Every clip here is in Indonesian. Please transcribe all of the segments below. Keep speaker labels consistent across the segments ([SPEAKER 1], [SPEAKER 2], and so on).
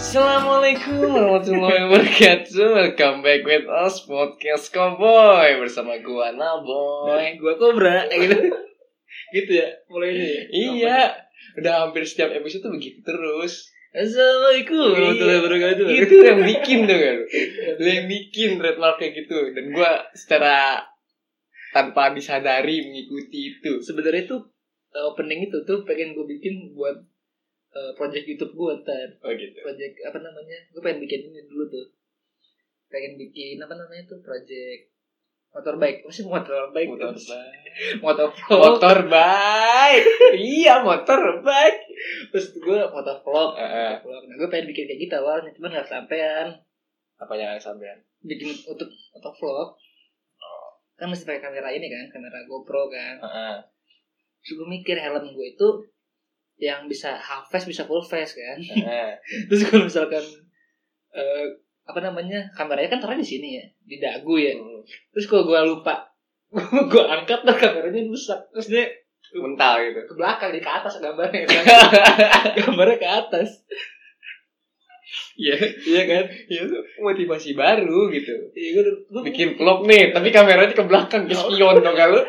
[SPEAKER 1] Assalamualaikum warahmatullahi wabarakatuh Welcome back with us Podcast Cowboy Bersama gua Naboy
[SPEAKER 2] Gua kobra kayak gitu. gitu ya mulainya ya.
[SPEAKER 1] Iya Udah hampir setiap episode tuh begitu terus Iya.
[SPEAKER 2] Assalamualaikum Gitu. warahmatullahi wabarakatuh.
[SPEAKER 1] Itu yang bikin tuh kan Lu yang bikin trademark kayak gitu Dan gua secara tanpa disadari mengikuti itu
[SPEAKER 2] Sebenarnya tuh eh, opening itu tuh pengen gue bikin buat eh, project YouTube gue ntar
[SPEAKER 1] Oh gitu
[SPEAKER 2] project apa namanya gue pengen bikin ini dulu tuh pengen bikin apa namanya tuh project motor bike apa sih motor bike
[SPEAKER 1] Motor baik
[SPEAKER 2] motor vlog
[SPEAKER 1] Motor baik Iya motor baik
[SPEAKER 2] terus gue motor
[SPEAKER 1] Eh,
[SPEAKER 2] vlog
[SPEAKER 1] eh.
[SPEAKER 2] vlog nah gue pengen bikin kayak gitu awalnya cuman nggak sampean
[SPEAKER 1] Apa yang sampean
[SPEAKER 2] bikin untuk motor vlog kan mesti pakai kamera ini kan kamera GoPro kan
[SPEAKER 1] Heeh.
[SPEAKER 2] Terus gue mikir helm gue itu yang bisa half face bisa full face kan.
[SPEAKER 1] heeh.
[SPEAKER 2] Terus kalau misalkan eh, apa namanya kameranya kan taruh di sini ya di dagu ya. Terus kalau gue lupa gue angkat tuh kameranya rusak. Terus dia
[SPEAKER 1] Mental gitu
[SPEAKER 2] ke belakang di ke atas gambarnya kan. gambarnya ke atas.
[SPEAKER 1] Iya
[SPEAKER 2] Iya kan?
[SPEAKER 1] Iya tuh motivasi baru gitu.
[SPEAKER 2] Iya gue gue
[SPEAKER 1] Bikin vlog nih, tapi kameranya ke belakang, ke spion dong kalau.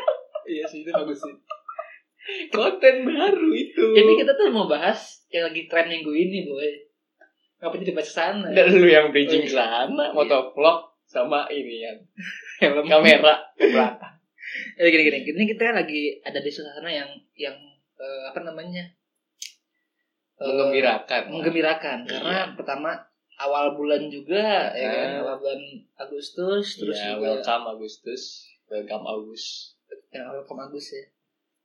[SPEAKER 2] Iya sih itu bagus sih.
[SPEAKER 1] Konten baru itu.
[SPEAKER 2] Ini kan kita tuh mau bahas yang lagi tren minggu ini boy. Ngapain jadi bahas sana?
[SPEAKER 1] dan lu yang bridging
[SPEAKER 2] Oh, iya.
[SPEAKER 1] sana,
[SPEAKER 2] Iya.
[SPEAKER 1] motovlog sama ini yang helm kamera ke belakang.
[SPEAKER 2] Jadi Eh, gini gini, ini kita lagi ada di suasana yang yang eh, apa namanya? Eh,
[SPEAKER 1] Menggembirakan.
[SPEAKER 2] Menggembirakan karena pertama awal bulan juga ya kan,
[SPEAKER 1] Ah.
[SPEAKER 2] awal bulan Agustus
[SPEAKER 1] Terus
[SPEAKER 2] terus
[SPEAKER 1] ya,
[SPEAKER 2] juga
[SPEAKER 1] welcome Agustus, welcome Agus.
[SPEAKER 2] yang welcome Agus ya.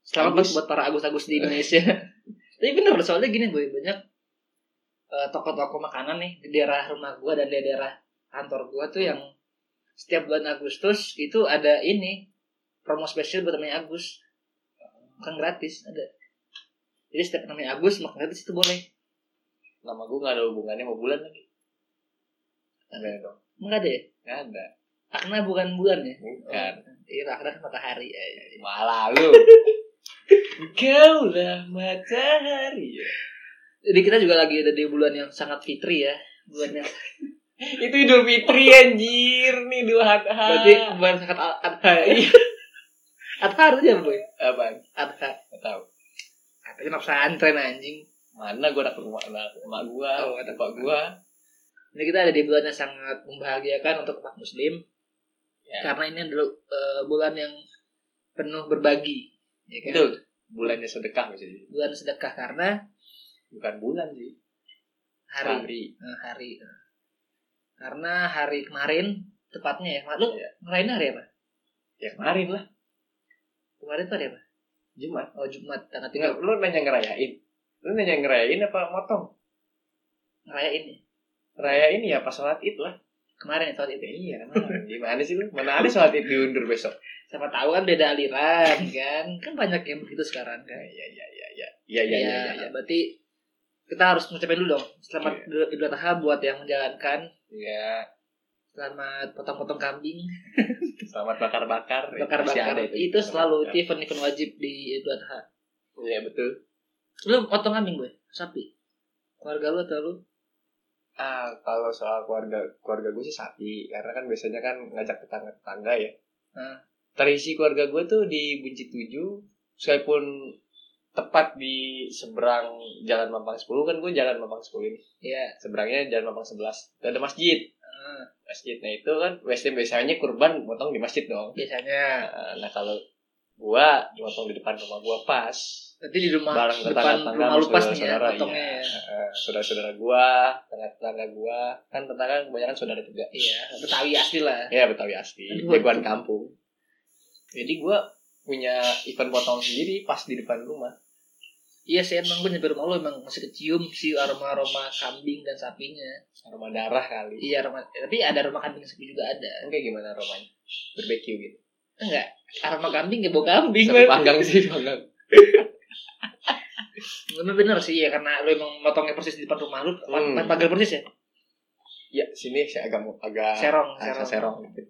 [SPEAKER 2] Selamat
[SPEAKER 1] Agus.
[SPEAKER 2] buat para Agus-Agus di Indonesia. Tapi bener soalnya gini gue banyak eh, toko-toko makanan nih di daerah rumah gue dan di daerah kantor gue tuh yang setiap bulan Agustus itu ada ini promo spesial buat namanya Agus. Bukan gratis ada. Jadi setiap namanya Agus makan gratis itu boleh.
[SPEAKER 1] Nama gue gak ada hubungannya sama bulan lagi. Ada dong.
[SPEAKER 2] Enggak deh.
[SPEAKER 1] Gak ada.
[SPEAKER 2] ya? Akna bukan bulan ya.
[SPEAKER 1] Bukan.
[SPEAKER 2] Iya, akna kan matahari. Ya, ya, ya.
[SPEAKER 1] Malah lu. Kau lah matahari.
[SPEAKER 2] Jadi kita juga lagi ada di bulan yang sangat fitri ya. Bulan yang
[SPEAKER 1] Itu Idul Fitri anjir nih dua hari.
[SPEAKER 2] Berarti bukan zakat al- adha. ya? adha artinya apa boy?
[SPEAKER 1] apa?
[SPEAKER 2] Adha.
[SPEAKER 1] Gak tahu.
[SPEAKER 2] Katanya anak pesantren anjing.
[SPEAKER 1] Mana gue dapet rumah anak emak gue, oh,
[SPEAKER 2] Oh, ada
[SPEAKER 1] bapak gue.
[SPEAKER 2] Jadi kita ada di bulan yang sangat membahagiakan untuk umat muslim.
[SPEAKER 1] Ya.
[SPEAKER 2] Karena ini adalah eh, bulan yang penuh berbagi. Ya kan?
[SPEAKER 1] Betul. Bulannya sedekah maksudnya.
[SPEAKER 2] Bulan sedekah karena
[SPEAKER 1] Bukan bulan sih.
[SPEAKER 2] hari. Hari. eh, hari. Karena hari kemarin tepatnya ya. Lu
[SPEAKER 1] Iya.
[SPEAKER 2] ngerayain hari apa?
[SPEAKER 1] Ya kemarin lah.
[SPEAKER 2] Kemarin tuh hari apa?
[SPEAKER 1] Jumat.
[SPEAKER 2] Oh Jumat tanggal
[SPEAKER 1] Tinggal
[SPEAKER 2] 3
[SPEAKER 1] lu nanya ngerayain. Lu nanya ngerayain apa motong?
[SPEAKER 2] ngerayain ya.
[SPEAKER 1] Rayain ya pas sholat id lah.
[SPEAKER 2] Kemarin ya saat itu.
[SPEAKER 1] Ya, iya. emang. Gimana sih lu? Mana ada sholat id diundur besok?
[SPEAKER 2] Siapa tahu kan beda aliran kan. Kan banyak yang begitu sekarang kan.
[SPEAKER 1] Ya ya ya ya ya. Ya ya
[SPEAKER 2] Iya,
[SPEAKER 1] ya ya. ya.
[SPEAKER 2] berarti kita harus ngucapin dulu dong. Selamat
[SPEAKER 1] Iya.
[SPEAKER 2] Idul- Idul Adha buat yang menjalankan.
[SPEAKER 1] Ya,
[SPEAKER 2] Selamat potong-potong kambing,
[SPEAKER 1] Selamat bakar-bakar. Iya, Masih
[SPEAKER 2] bakar-bakar.
[SPEAKER 1] ada
[SPEAKER 2] Itu, selalu itu event-event wajib di Idul Adha.
[SPEAKER 1] Iya betul.
[SPEAKER 2] Lu potong kambing gue, sapi. Keluarga lu atau lu?
[SPEAKER 1] Ah, kalau soal keluarga keluarga gue sih sapi, karena kan biasanya kan ngajak tetangga tetangga ya.
[SPEAKER 2] Hmm.
[SPEAKER 1] Terisi keluarga gue tuh di Bunci 7 sekalipun tepat di seberang Jalan Mampang 10 kan gue Jalan Mampang 10 ini.
[SPEAKER 2] Iya.
[SPEAKER 1] Seberangnya Jalan Mampang 11. Dan ada masjid.
[SPEAKER 2] Ah,
[SPEAKER 1] Masjidnya itu kan biasanya biasanya kurban motong di masjid dong.
[SPEAKER 2] biasanya.
[SPEAKER 1] Ah, Nah, kalau gua motong di depan rumah gua pas
[SPEAKER 2] Nanti di rumah
[SPEAKER 1] bareng
[SPEAKER 2] depan
[SPEAKER 1] tetangga-tetangga
[SPEAKER 2] rumah
[SPEAKER 1] sama
[SPEAKER 2] lu pas nih ya,
[SPEAKER 1] saudara-saudara,
[SPEAKER 2] potongnya
[SPEAKER 1] iya.
[SPEAKER 2] ya.
[SPEAKER 1] Eh, saudara-saudara gua, tetangga-tetangga gua, kan tetangga kebanyakan saudara tiga.
[SPEAKER 2] Iya, Betawi asli lah.
[SPEAKER 1] Ya Betawi asli,
[SPEAKER 2] Aduh,
[SPEAKER 1] jagoan
[SPEAKER 2] aduh.
[SPEAKER 1] kampung. Jadi gua punya event potong sendiri pas di depan rumah.
[SPEAKER 2] Iya sih emang gue nyampe rumah lu emang masih kecium sih aroma-aroma kambing dan sapinya.
[SPEAKER 1] Aroma darah kali.
[SPEAKER 2] Iya aroma, tapi ada aroma kambing sapi juga ada.
[SPEAKER 1] Kan Kayak gimana aromanya? Barbecue gitu.
[SPEAKER 2] Enggak, aroma kambing gak bau kambing
[SPEAKER 1] Sapi
[SPEAKER 2] Mat.
[SPEAKER 1] panggang sih panggang.
[SPEAKER 2] Tapi bener sih ya karena lu emang motongnya persis di depan rumah lu,
[SPEAKER 1] Hmm.
[SPEAKER 2] hmm. pagar persis ya.
[SPEAKER 1] Ya, sini saya agak mau- agak
[SPEAKER 2] Serong,
[SPEAKER 1] agak Ah,
[SPEAKER 2] serong.
[SPEAKER 1] serong gitu.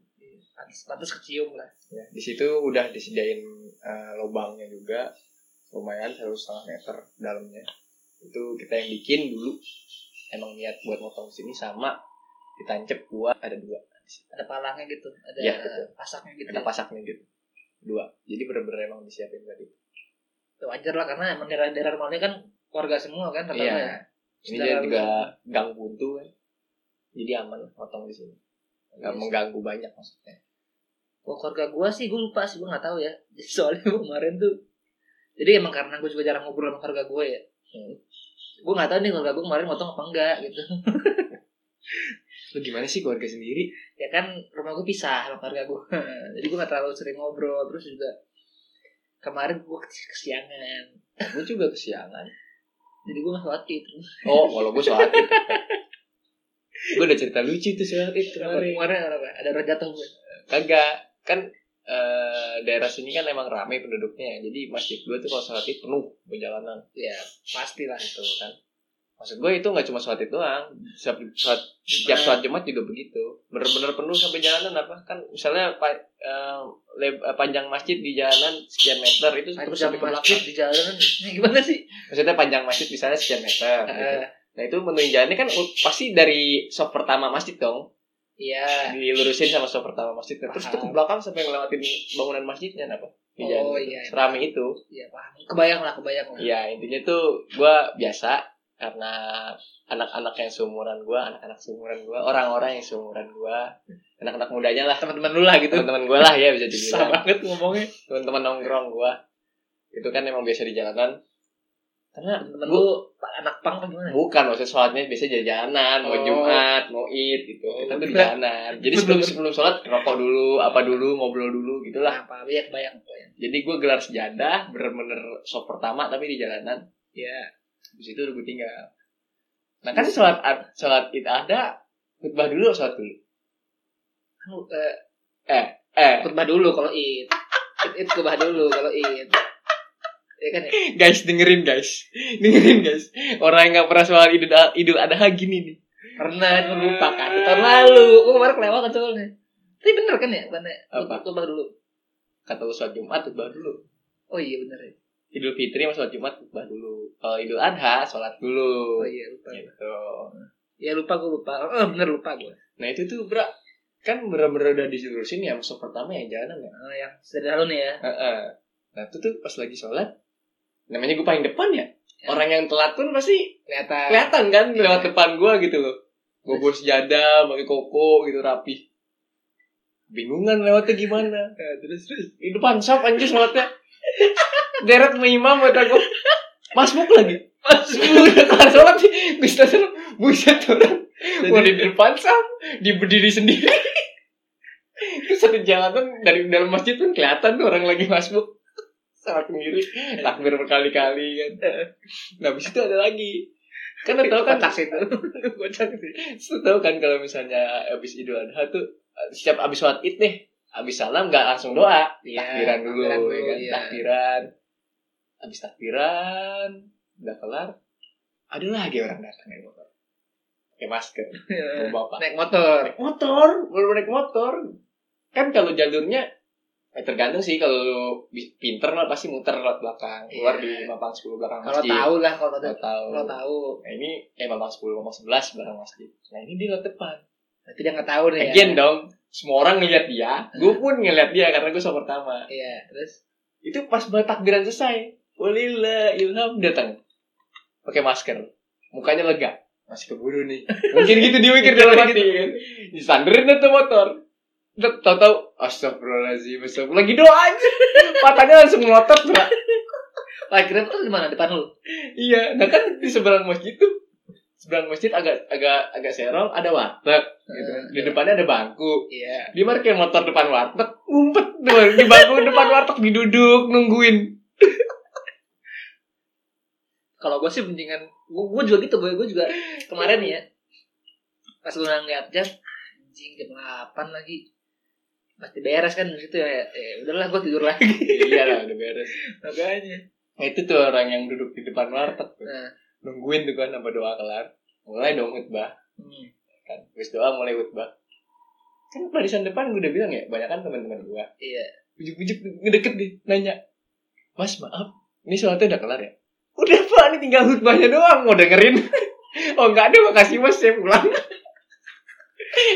[SPEAKER 2] Pantes, pantes kecium lah.
[SPEAKER 1] Ya, di situ udah disediain eh, lubangnya juga lumayan satu setengah meter dalamnya. Itu kita yang bikin dulu. emang niat buat motong sini sama di tancep gua ada dua
[SPEAKER 2] ada palangnya gitu ada
[SPEAKER 1] Iya, betul.
[SPEAKER 2] pasaknya gitu
[SPEAKER 1] ada pasaknya gitu dua jadi bener-bener emang disiapin tadi
[SPEAKER 2] ya, wajar lah karena emang daerah daerah rumahnya kan keluarga semua kan terutama
[SPEAKER 1] Iya.
[SPEAKER 2] ya
[SPEAKER 1] ini
[SPEAKER 2] Saudara
[SPEAKER 1] dia juga
[SPEAKER 2] lu-
[SPEAKER 1] gang buntu kan jadi aman motong di sini nggak
[SPEAKER 2] Iya sih.
[SPEAKER 1] mengganggu banyak maksudnya
[SPEAKER 2] Kalau oh, keluarga gue sih gue lupa sih gue nggak tahu ya soalnya gua kemarin tuh jadi emang karena gue juga jarang ngobrol sama keluarga gue ya
[SPEAKER 1] Hmm.
[SPEAKER 2] gue nggak tahu nih keluarga gue kemarin motong apa enggak gitu
[SPEAKER 1] lu gimana sih keluarga sendiri
[SPEAKER 2] ya kan rumah gue pisah sama keluarga gue jadi gue gak terlalu sering ngobrol terus juga kemarin gue kesiangan
[SPEAKER 1] gua juga kesiangan
[SPEAKER 2] jadi gue masuk waktu itu
[SPEAKER 1] oh kalau gua sholat id gua udah cerita lucu tuh sholat id kemarin
[SPEAKER 2] kemarin apa ada orang jatuh gue
[SPEAKER 1] kagak kan eh, daerah sini kan emang ramai penduduknya jadi masjid gue tuh kalau sholat id penuh perjalanan
[SPEAKER 2] ya pasti lah
[SPEAKER 1] gitu kan maksud gue itu nggak cuma sholat id doang setiap sholat setiap sholat jumat juga begitu bener-bener penuh sampai jalanan apa kan misalnya pa- eh, leb- eh, panjang masjid di jalanan sekian meter itu terus
[SPEAKER 2] terus
[SPEAKER 1] sampai
[SPEAKER 2] di
[SPEAKER 1] ke
[SPEAKER 2] masjid
[SPEAKER 1] belakang
[SPEAKER 2] di jalanan ini gimana sih
[SPEAKER 1] maksudnya panjang masjid misalnya sekian meter gitu.
[SPEAKER 2] Eh,
[SPEAKER 1] nah itu menuju jalannya kan u- pasti dari sop pertama masjid dong
[SPEAKER 2] iya
[SPEAKER 1] dilurusin sama sop pertama masjid terus tuh ke
[SPEAKER 2] Paham.
[SPEAKER 1] belakang sampai ngelewatin bangunan masjidnya apa di jalan
[SPEAKER 2] Oh,
[SPEAKER 1] itu.
[SPEAKER 2] iya.
[SPEAKER 1] Serame itu
[SPEAKER 2] iya paham kebayang lah kebayang lah
[SPEAKER 1] ya intinya tuh gua biasa karena anak-anak yang seumuran gua anak-anak seumuran gua orang-orang yang seumuran gua anak-anak mudanya lah
[SPEAKER 2] teman-teman lu lah gitu
[SPEAKER 1] teman-teman gua lah ya bisa
[SPEAKER 2] susah
[SPEAKER 1] dibilang
[SPEAKER 2] banget ngomongnya
[SPEAKER 1] teman-teman nongkrong gua itu kan emang biasa di jalanan karena gua-
[SPEAKER 2] temen lu pa- anak pang apa gimana
[SPEAKER 1] bukan maksudnya sholatnya biasa jadi jalanan mau
[SPEAKER 2] Oh.
[SPEAKER 1] jumat mau id gitu
[SPEAKER 2] Oh,
[SPEAKER 1] kita tuh di
[SPEAKER 2] bener.
[SPEAKER 1] jalanan jadi sebelum sebelum sholat rokok dulu apa dulu ngobrol dulu gitulah
[SPEAKER 2] Nah, paham ya kebayang kebayang
[SPEAKER 1] jadi gue gelar sejadah bener-bener sop pertama tapi di jalanan
[SPEAKER 2] ya
[SPEAKER 1] Habis itu udah gue tinggal. Nah kan sholat ad- sholat id ada khutbah dulu sholat dulu.
[SPEAKER 2] kan lu, eh,
[SPEAKER 1] Eh
[SPEAKER 2] khutbah dulu kalau id id id khutbah dulu kalau id ya kan ya
[SPEAKER 1] guys dengerin guys dengerin guys orang yang nggak pernah sholat idul idul adha gini nih.
[SPEAKER 2] pernah cuma lupa kan tahun lalu gue kemarin kelewatan soalnya tapi bener kan ya mana
[SPEAKER 1] Apa?
[SPEAKER 2] coba dulu
[SPEAKER 1] Kata lu sholat jumat khutbah dulu.
[SPEAKER 2] oh iya bener ya
[SPEAKER 1] Idul fitri sama sholat jumat khutbah dulu. Kalau idul adha sholat dulu.
[SPEAKER 2] oh iya lupa
[SPEAKER 1] Gitu.
[SPEAKER 2] ya lupa gue lupa oh bener lupa gue
[SPEAKER 1] Nah itu tuh bra kan bener-bener udah dijurusin ya musuh pertama yang jalanan ya.
[SPEAKER 2] oh, yang sederhana nih ya
[SPEAKER 1] Heeh. Nah itu tuh pas lagi sholat namanya gue paling depan ya. Orang yang telat pun pasti
[SPEAKER 2] kelihatan
[SPEAKER 1] kelihatan kan lewat depan gua gitu loh gue bawa sejadah pakai koko gitu rapi bingungan lewatnya gimana
[SPEAKER 2] Eh, terus terus
[SPEAKER 1] di depan sop anjir sholatnya deret sama imam kata gue masmuk lagi masmuk udah kelar sholat sih gue sholat buset orang udah di depan sop di berdiri sendiri terus satu jalanan dari dalam masjid pun kelihatan tuh orang lagi masmuk sholat sendiri takbir berkali-kali kan nah habis itu ada lagi kan lo tau kan
[SPEAKER 2] tas itu kocak sih
[SPEAKER 1] Lu tahu kan kalau misalnya abis Idul Adha tuh setiap abis sholat id nih, abis salam nggak langsung doa,
[SPEAKER 2] Iya,
[SPEAKER 1] takbiran dulu,
[SPEAKER 2] takbiran dulu,
[SPEAKER 1] ya kan?
[SPEAKER 2] iya.
[SPEAKER 1] takbiran. Abis takbiran, udah kelar, ada lagi orang datang naik motor, pakai masker, bawa bapak,
[SPEAKER 2] Iya. naik motor
[SPEAKER 1] naik motor, baru naik motor, kan kalau jalurnya eh, tergantung sih kalau lu bi- pinter lah pasti muter lewat belakang keluar di
[SPEAKER 2] Iya.
[SPEAKER 1] lapang 10 belakang
[SPEAKER 2] kalau
[SPEAKER 1] masjid
[SPEAKER 2] tahu lah kalau
[SPEAKER 1] kalau
[SPEAKER 2] tahu
[SPEAKER 1] tahu
[SPEAKER 2] kalau tahu
[SPEAKER 1] nah ini eh lapang 10 lapang 11 belakang masjid nah ini di lewat depan
[SPEAKER 2] berarti dia nggak tahu nih ya
[SPEAKER 1] Again dong, semua orang ngeliat dia, gue pun ngeliat dia karena gue sop pertama.
[SPEAKER 2] iya terus
[SPEAKER 1] Itu pas banget takbiran selesai, Walila Ilham datang, pakai masker, mukanya lega, masih keburu nih. Mungkin gitu dia mikir dalam hati. kan. Disanderin dah tuh motor, Tet- Tau-tau, astagfirullahaladzim, astagfirullah. lagi doa aja. Matanya langsung melotot, Bra.
[SPEAKER 2] Wah, kira tuh di mana depan lu?
[SPEAKER 1] Iya, nah kan di seberang masjid tuh, seberang masjid agak agak agak serong ada warteg, gitu. di depannya ada bangku,
[SPEAKER 2] Iya.
[SPEAKER 1] dia parkir motor depan warteg umpet tuh di bangku depan warteg diduduk nungguin
[SPEAKER 2] Kalau gue sih mendingan gue, gue juga gitu, gue gue juga kemarin ya pas gue ngeliat jam anjing jam 8 lagi pasti beres kan di situ ya eh, udahlah gue tidur lagi
[SPEAKER 1] iya lah udah beres
[SPEAKER 2] makanya
[SPEAKER 1] nah, itu tuh orang yang duduk di depan warteg tuh.
[SPEAKER 2] Nah.
[SPEAKER 1] nungguin tuh kan apa doa kelar mulai dong khutbah
[SPEAKER 2] hmm.
[SPEAKER 1] kan wis doa mulai khutbah kan barisan depan gue udah bilang ya banyak kan teman-teman gue
[SPEAKER 2] iya
[SPEAKER 1] ujuk-ujuk ngedeket deh nanya mas maaf ini sholatnya udah kelar ya udah pak ini tinggal khutbahnya doang mau dengerin Oh enggak ada makasih mas saya pulang.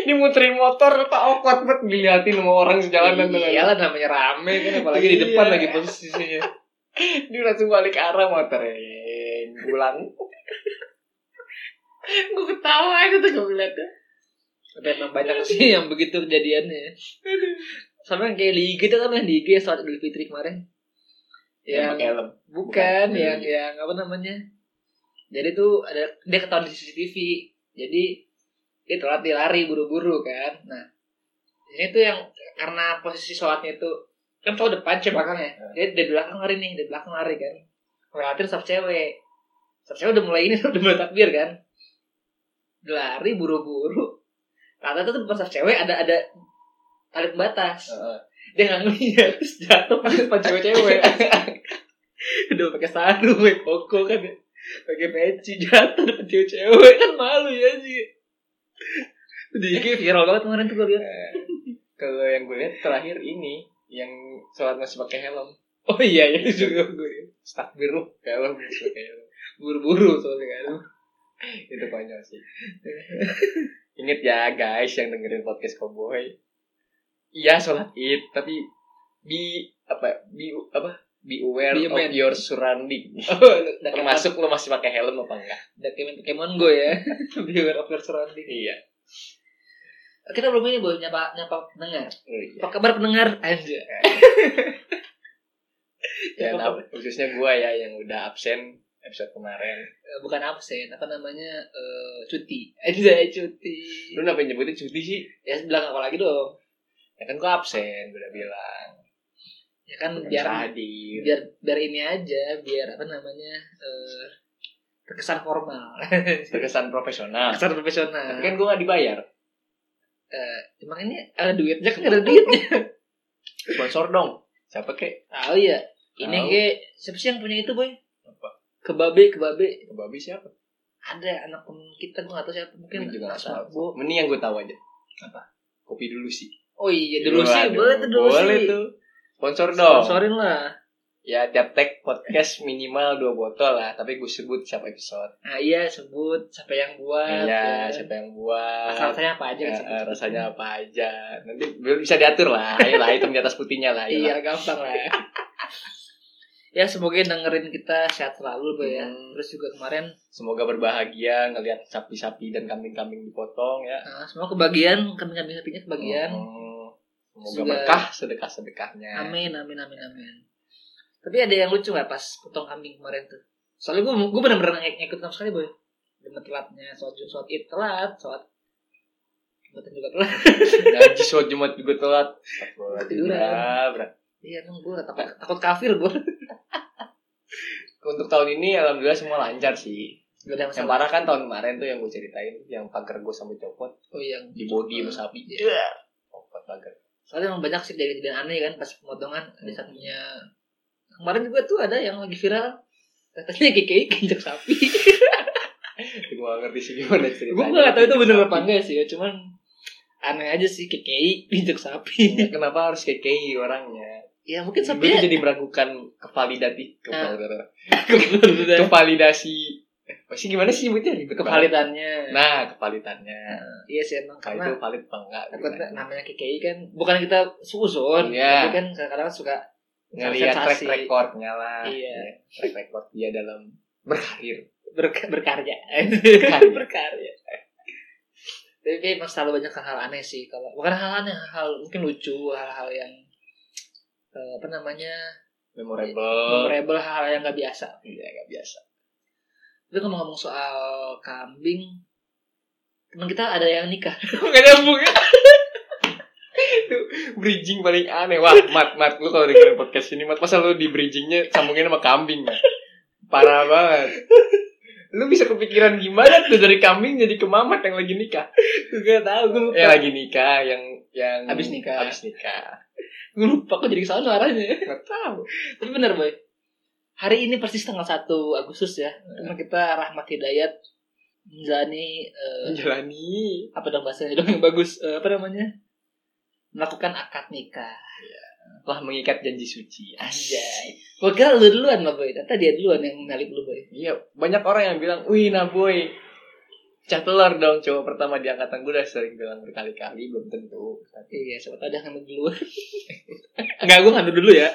[SPEAKER 1] Ini muterin motor tak awkward banget dilihatin sama orang sejalanan tuh kan.
[SPEAKER 2] Iyalah Iya, namanya rame kan apalagi di
[SPEAKER 1] Iya.
[SPEAKER 2] depan lagi posisinya.
[SPEAKER 1] Dia langsung balik arah motorin pulang.
[SPEAKER 3] Gue ketawa aja tuh gue ngeliatnya.
[SPEAKER 2] Udah emang banyak sih yang begitu kejadiannya. Sama yang kayak di IG itu kan yang di IG saat Idul Fitri kemarin.
[SPEAKER 1] Yang pakai
[SPEAKER 2] Yang
[SPEAKER 1] helm.
[SPEAKER 2] bukan
[SPEAKER 1] Bukan.
[SPEAKER 2] yang yang apa namanya? Jadi tuh ada dia ketahuan di CCTV. Jadi dia telat dia lari buru-buru kan. Nah, ini tuh yang karena posisi sholatnya itu kan cowok depan cewek belakang ya. Dia di belakang lari nih, di belakang lari kan. Ngeliatin sab cewek. Sab cewek udah mulai ini udah mulai takbir kan. Dia Lari buru-buru. Rata-rata tuh depan sab cewek ada ada tali pembatas.
[SPEAKER 1] Heeh.
[SPEAKER 2] Dia nggak ngeliat terus jatuh pakai depan cewek-cewek. Udah pakai sarung, pakai koko kan ya. Pakai peci jatuh depan cewek-cewek kan malu ya sih. Di IG viral banget kemarin tuh gue liat.
[SPEAKER 1] Eh, Kalau yang gue lihat terakhir ini yang sholat masih pakai helm.
[SPEAKER 2] Oh iya ya juga gue
[SPEAKER 1] Takbir lu, pakai helm masih pakai helm.
[SPEAKER 2] buru-buru soalnya kan.
[SPEAKER 1] Itu konyol sih. Ingat ya guys yang dengerin podcast Cowboy. Iya sholat id tapi bi apa bi apa be aware
[SPEAKER 2] Be
[SPEAKER 1] of
[SPEAKER 2] aware.
[SPEAKER 1] your surrounding.
[SPEAKER 2] Oh, udah
[SPEAKER 1] Termasuk
[SPEAKER 2] termasuk
[SPEAKER 1] lo masih pakai helm apa enggak?
[SPEAKER 2] udah kayak main Pokemon Go ya. Viewer of your surrounding.
[SPEAKER 1] Iya.
[SPEAKER 2] Kita belum ini boleh nyapa nyapa pendengar.
[SPEAKER 1] Oh, iya.
[SPEAKER 2] Apa kabar pendengar? Anjir. Ya,
[SPEAKER 1] Dan
[SPEAKER 2] Iya.
[SPEAKER 1] ap- khususnya gue ya yang udah absen episode kemarin.
[SPEAKER 2] Eh, bukan absen, apa namanya eh, cuti. Anjay cuti.
[SPEAKER 1] Lu kenapa nyebutin cuti sih?
[SPEAKER 2] Ya bilang apa lagi dong?
[SPEAKER 1] Ya kan gue absen, gue udah bilang.
[SPEAKER 2] Ya kan
[SPEAKER 1] Gak
[SPEAKER 2] biar
[SPEAKER 1] bisa hadir.
[SPEAKER 2] biar biar ini aja, biar apa namanya eh, terkesan formal,
[SPEAKER 1] Terkesan profesional.
[SPEAKER 2] terkesan profesional.
[SPEAKER 1] Tapi kan gue gak dibayar.
[SPEAKER 2] Eh, emang ini ada duitnya kan ada duitnya.
[SPEAKER 1] Sponsor dong. Siapa kek?
[SPEAKER 2] Oh iya, ini
[SPEAKER 1] Tahu.
[SPEAKER 2] kayak siapa sih yang punya itu boy?
[SPEAKER 1] Apa?
[SPEAKER 2] Kebabe, kebabe
[SPEAKER 1] Kebabi siapa?
[SPEAKER 2] ada anak temen kita gue gak tau siapa mungkin
[SPEAKER 1] Gue juga nggak tahu.
[SPEAKER 2] Bo.
[SPEAKER 1] Mending yang gue tahu aja. Apa? Kopi dulu sih.
[SPEAKER 2] Oh iya, dulu sih
[SPEAKER 1] Waduh,
[SPEAKER 2] boleh tuh dulu sih.
[SPEAKER 1] Boleh tuh. Sponsor dong.
[SPEAKER 2] Sponsorin lah.
[SPEAKER 1] Ya tiap tag podcast minimal dua botol lah. Tapi gue sebut siapa episode.
[SPEAKER 2] Nah iya sebut siapa yang buat.
[SPEAKER 1] Iya,
[SPEAKER 2] ya.
[SPEAKER 1] siapa yang buat.
[SPEAKER 2] Rasa- rasanya apa aja
[SPEAKER 1] Ya,
[SPEAKER 2] kan sebut.
[SPEAKER 1] eh, rasanya apa aja nanti bisa diatur lah ayolah hitam di atas putihnya lah
[SPEAKER 2] Iya
[SPEAKER 1] ayolah.
[SPEAKER 2] gampang lah. ya semoga dengerin kita sehat selalu Boy ya.
[SPEAKER 1] Hmm.
[SPEAKER 2] Terus juga kemarin
[SPEAKER 1] semoga berbahagia ngelihat sapi-sapi dan kambing-kambing dipotong ya
[SPEAKER 2] eh, semua kebagian kami kami sapinya kebagian.
[SPEAKER 1] Hmm. Semoga
[SPEAKER 2] Juga-
[SPEAKER 1] berkah sedekah-sedekahnya.
[SPEAKER 2] Amin amin amin amin. Tapi ada yang lucu nggak pas potong kambing kemarin tuh? Soalnya gue gue benar-benar ng- ngikut sama sekali boy. Dengan telatnya sholat jum sholat id telat sholat Jumatan juga telat.
[SPEAKER 1] Ngaji sholat Jumat juga telat.
[SPEAKER 2] Tiduran.
[SPEAKER 1] Ya, berat.
[SPEAKER 2] Iya dong gue takut takut kafir gue.
[SPEAKER 1] Untuk tahun ini alhamdulillah semua lancar sih.
[SPEAKER 2] Gak ada
[SPEAKER 1] Yang
[SPEAKER 2] masalah.
[SPEAKER 1] parah kan tahun kemarin tuh yang gue ceritain yang pagar gue sampai copot
[SPEAKER 2] Oh yang
[SPEAKER 1] di body sama sapi.
[SPEAKER 2] Iya.
[SPEAKER 1] Copot pagar.
[SPEAKER 2] soalnya emang banyak sih dari kejadian aneh kan pas pemotongan ada satunya kemarin juga tuh ada yang lagi viral katanya KKI injak sapi
[SPEAKER 1] Gue gak ngerti sih gimana ceritanya.
[SPEAKER 2] gue gak tau itu bener apa enggak sih ya cuman aneh aja sih KKI injak sapi
[SPEAKER 1] Ya, Kenapa harus kekei orangnya?
[SPEAKER 2] ya mungkin
[SPEAKER 1] Gue tuh
[SPEAKER 2] sapinya
[SPEAKER 1] jadi meragukan kevalidati
[SPEAKER 2] Ah. Iya.
[SPEAKER 1] kevalidasi kevalidasi. Eh, Pasti gimana sih nyebutnya? Ribet banget.
[SPEAKER 2] kevalidannya
[SPEAKER 1] Nah, kevalitannya.
[SPEAKER 2] iya sih
[SPEAKER 1] Nah,
[SPEAKER 2] emang karena
[SPEAKER 1] itu valid apa enggak?
[SPEAKER 2] takutnya namanya KKI kan bukan kita suzon
[SPEAKER 1] Iya.
[SPEAKER 2] tapi kan kadang-kadang suka
[SPEAKER 1] ngelihat track
[SPEAKER 2] Sensasi.
[SPEAKER 1] recordnya lah
[SPEAKER 2] Iya.
[SPEAKER 1] Ya, track record dia dalam berkarir
[SPEAKER 2] berk- berkarya
[SPEAKER 1] Berkarya.
[SPEAKER 2] berkarya tapi kayak emang selalu banyak hal-hal aneh sih kalau bukan hal aneh hal mungkin lucu hal-hal yang eh, apa namanya
[SPEAKER 1] memorable
[SPEAKER 2] memorable hal-hal yang gak biasa
[SPEAKER 1] iya nggak biasa
[SPEAKER 2] tapi ngomong-ngomong soal kambing teman kita ada yang nikah
[SPEAKER 1] nggak nyambung Tuh, bridging paling aneh wah mat mat lu kalau dengerin podcast ini mat masa lu di bridgingnya sambungin sama kambing Mat? parah banget lu bisa kepikiran gimana tuh dari kambing jadi ke mamat yang lagi nikah
[SPEAKER 2] gak tau gue
[SPEAKER 1] yang
[SPEAKER 2] lupa
[SPEAKER 1] Iya, lagi nikah yang yang
[SPEAKER 2] Habis nikah.
[SPEAKER 1] habis nikah
[SPEAKER 2] gue lupa kok jadi kesalahan arahnya
[SPEAKER 1] nggak tahu
[SPEAKER 2] Tapi benar boy. Hari ini persis tanggal 1 Agustus ya. Teman kita Rahmat Hidayat menjalani eh,
[SPEAKER 1] menjalani
[SPEAKER 2] apa dong bahasanya dong yang bagus Eh, apa namanya? Melakukan akad nikah.
[SPEAKER 1] telah mengikat janji suci
[SPEAKER 2] Anjay. Gue kira lu duluan mah boy. Ternyata dia duluan yang nyalip lu boy.
[SPEAKER 1] Iya, banyak orang yang bilang, wih nah boy, Cah telur dong cowok pertama di angkatan gue udah sering bilang berkali-kali belum tentu.
[SPEAKER 2] Iya, siapa tahu ada yang dulu.
[SPEAKER 1] Enggak gue ngantuk dulu ya.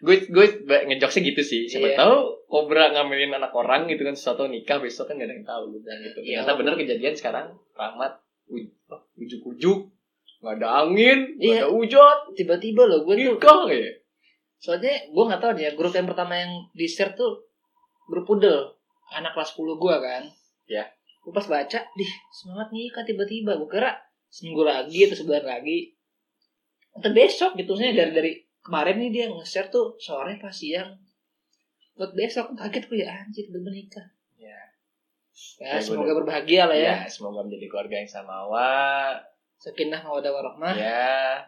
[SPEAKER 1] gue gue ba- ngejokesnya gitu sih. Siapa
[SPEAKER 2] Iya.
[SPEAKER 1] tahu kobra ngamelin anak orang gitu kan sesuatu nikah besok kan gak ada yang tahu gue bilang gitu.
[SPEAKER 2] Iya.
[SPEAKER 1] Ternyata bener kejadian sekarang Rahmat uj- oh, ujuk-ujuk nggak ada angin, nggak ada
[SPEAKER 2] Iya.
[SPEAKER 1] hujan,
[SPEAKER 2] Tiba-tiba loh gue tuh.
[SPEAKER 1] nikah ya.
[SPEAKER 2] Soalnya gue nggak tahu deh, grup yang pertama yang di share tuh grup pudel. Anak kelas 10 gue kan.
[SPEAKER 1] Iya.
[SPEAKER 2] Gue pas baca, dih semangat nikah tiba-tiba. Gue kira seminggu lagi atau sebulan lagi. Atau besok gitu. Maksudnya dari, dari kemarin nih dia nge-share tuh sore pas siang. Buat besok kaget gue ya anjir udah menikah.
[SPEAKER 1] Iya.
[SPEAKER 2] Ya,
[SPEAKER 1] Ya,
[SPEAKER 2] semoga
[SPEAKER 1] gua-
[SPEAKER 2] berbahagia lah
[SPEAKER 1] Ya,
[SPEAKER 2] ya.
[SPEAKER 1] semoga menjadi keluarga yang samawa.
[SPEAKER 2] Sakinah mawaddah warahmah.
[SPEAKER 1] Ya.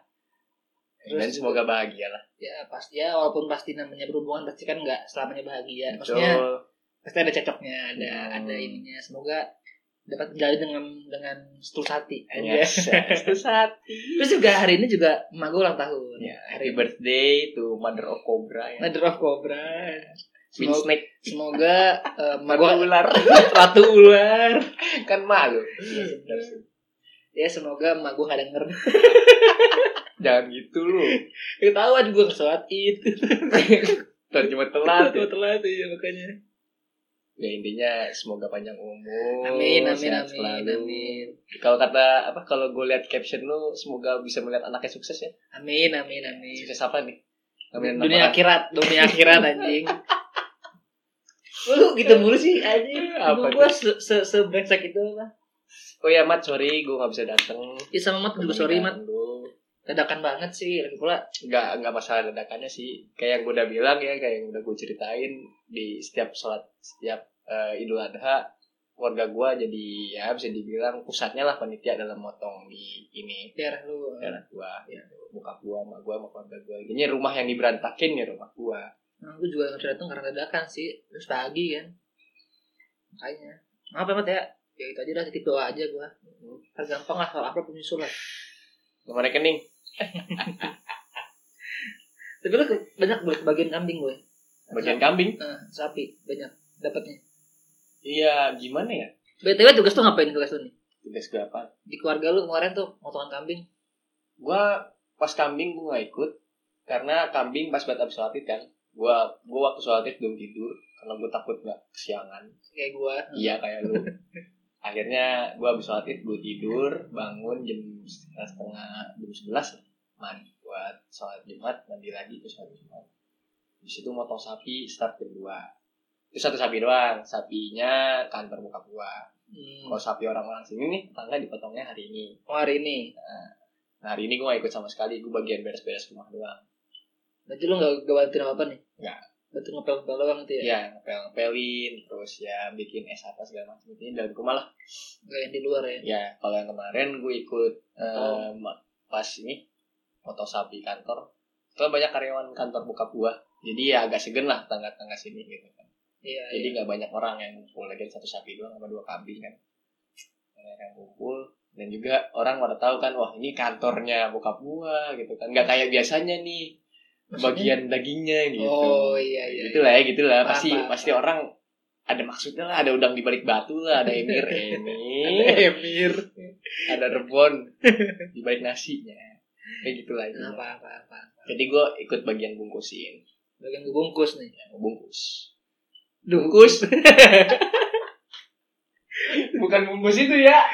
[SPEAKER 1] Dan
[SPEAKER 2] Terus-
[SPEAKER 1] semoga bahagia lah.
[SPEAKER 2] ya pasti ya walaupun pasti namanya berhubungan pasti kan nggak selamanya bahagia Ya, maksudnya
[SPEAKER 1] Betul.
[SPEAKER 2] pasti ada cocoknya ada
[SPEAKER 1] Hmm.
[SPEAKER 2] ada ininya semoga dapat jalan dengan dengan setulus hati aja
[SPEAKER 1] Yes, itu saat.
[SPEAKER 2] terus juga hari ini juga emak gue ulang tahun
[SPEAKER 1] Ya,
[SPEAKER 2] hari
[SPEAKER 1] happy birthday to Mother of Cobra ya.
[SPEAKER 2] Mother of Cobra
[SPEAKER 1] Queen
[SPEAKER 2] semoga
[SPEAKER 1] Snake
[SPEAKER 2] semoga eh, emak
[SPEAKER 1] Ratu
[SPEAKER 2] gua-
[SPEAKER 1] ular.
[SPEAKER 2] ratu ular
[SPEAKER 1] kan malu.
[SPEAKER 2] Iya, bener sih. ya semoga emak gue gak denger
[SPEAKER 1] Jangan gitu lu.
[SPEAKER 2] ketahuan gue sholat id
[SPEAKER 1] Ntar cuma telat. ya.
[SPEAKER 2] Gua telat iya makanya
[SPEAKER 1] Ya intinya semoga panjang umur.
[SPEAKER 2] amin amin
[SPEAKER 1] Oh, sehat
[SPEAKER 2] amin
[SPEAKER 1] selalu.
[SPEAKER 2] amin
[SPEAKER 1] Kalau kata apa kalau gue lihat caption lu semoga bisa melihat anaknya sukses ya.
[SPEAKER 2] amin amin amin
[SPEAKER 1] Sukses apa nih? Ngamen
[SPEAKER 2] Iya. dunia
[SPEAKER 1] anak
[SPEAKER 2] akhirat dunia akhirat anjing lu gitu mulu sih anjing
[SPEAKER 1] Apa
[SPEAKER 2] apa gua se se sebrengsek itu lah
[SPEAKER 1] orang. Oh ya Mat, sorry gue gak bisa dateng.
[SPEAKER 2] ya sama mat juga sorry mat
[SPEAKER 1] Pernikahan lu.
[SPEAKER 2] dadakan banget sih lagi pula
[SPEAKER 1] nggak nggak masalah ledakannya sih kayak yang gue udah bilang ya kayak yang udah gue ceritain di setiap sholat setiap eh, idul adha keluarga gue jadi ya bisa dibilang pusatnya lah panitia dalam motong di ini ya,
[SPEAKER 2] daerah lu
[SPEAKER 1] daerah gue buka gue sama gue sama keluarga gue ini rumah yang diberantakin ya rumah gue
[SPEAKER 2] nah, gua juga nggak datang karena dadakan sih terus pagi kan makanya maaf ya mat ya ya itu aja lah titip doa aja gua Ntar gampang lah kalau apa penyusul lah
[SPEAKER 1] nomor rekening
[SPEAKER 2] tapi lu ke- banyak buat bagian kambing gue
[SPEAKER 1] bagian kambing
[SPEAKER 2] sapi banyak dapatnya
[SPEAKER 1] iya gimana ya
[SPEAKER 2] btw tugas tuh ngapain tugas lu nih
[SPEAKER 1] tugas gue apa
[SPEAKER 2] di keluarga lu kemarin tuh motongan kambing
[SPEAKER 1] gue pas kambing gue nggak ikut karena kambing pas buat abis sholat id kan gue gue waktu sholat id belum tidur karena gue takut nggak kesiangan
[SPEAKER 2] kayak gua
[SPEAKER 1] Iya kayak lu. Akhirnya gue habis sholat id gue tidur, bangun jam setengah, setengah jam sebelas, mandi buat sholat jumat, mandi lagi terus sholat jumat. Di situ motong sapi start jam dua. Itu satu sapi doang, sapinya kantor buka gua.
[SPEAKER 2] Hmm.
[SPEAKER 1] Kalau sapi orang-orang sini nih, tetangga dipotongnya hari ini.
[SPEAKER 2] Oh, hari ini
[SPEAKER 1] Nah hari ini gue gak ikut sama sekali, gue bagian beres-beres rumah doang.
[SPEAKER 2] berarti lu gak, gak bantuin apa-apa nih?
[SPEAKER 1] Nggak.
[SPEAKER 2] Berarti ngepel-ngepel doang gitu ya?
[SPEAKER 1] Iya, ngepel-ngepelin, terus ya bikin es apa segala macam itu dalam rumah lah.
[SPEAKER 2] Gak yang di luar ya?
[SPEAKER 1] Ya, kalau yang kemarin gue ikut eh,
[SPEAKER 2] Oh.
[SPEAKER 1] ma- pas ini motor sapi kantor. Soalnya banyak karyawan kantor buka buah. Jadi ya agak segen lah tangga-tangga sini gitu kan.
[SPEAKER 2] Iya,
[SPEAKER 1] Jadi
[SPEAKER 2] iya.
[SPEAKER 1] nggak banyak orang yang ngumpul lagi satu sapi doang sama dua kambing kan. Banyak yang ngumpul dan juga orang pada tahu kan wah ini kantornya buka buah gitu kan. Nggak kayak biasanya nih
[SPEAKER 2] Maksudnya?
[SPEAKER 1] bagian dagingnya gitu.
[SPEAKER 2] Oh, iya, iya.
[SPEAKER 1] Gitu lah ya, gitu lah.
[SPEAKER 2] Paham,
[SPEAKER 1] Pasti
[SPEAKER 2] paham,
[SPEAKER 1] pasti orang ada maksudnya lah, ada udang di balik batu lah, ada emir ini
[SPEAKER 2] Emir.
[SPEAKER 1] ada rebon di balik nasinya kayak gitu lah intinya.
[SPEAKER 2] Apa, apa, apa.
[SPEAKER 1] jadi gue ikut bagian bungkusin
[SPEAKER 2] Bagian gue bungkus nih.
[SPEAKER 1] yang bungkus
[SPEAKER 2] Bungkus?
[SPEAKER 1] bukan bungkus itu ya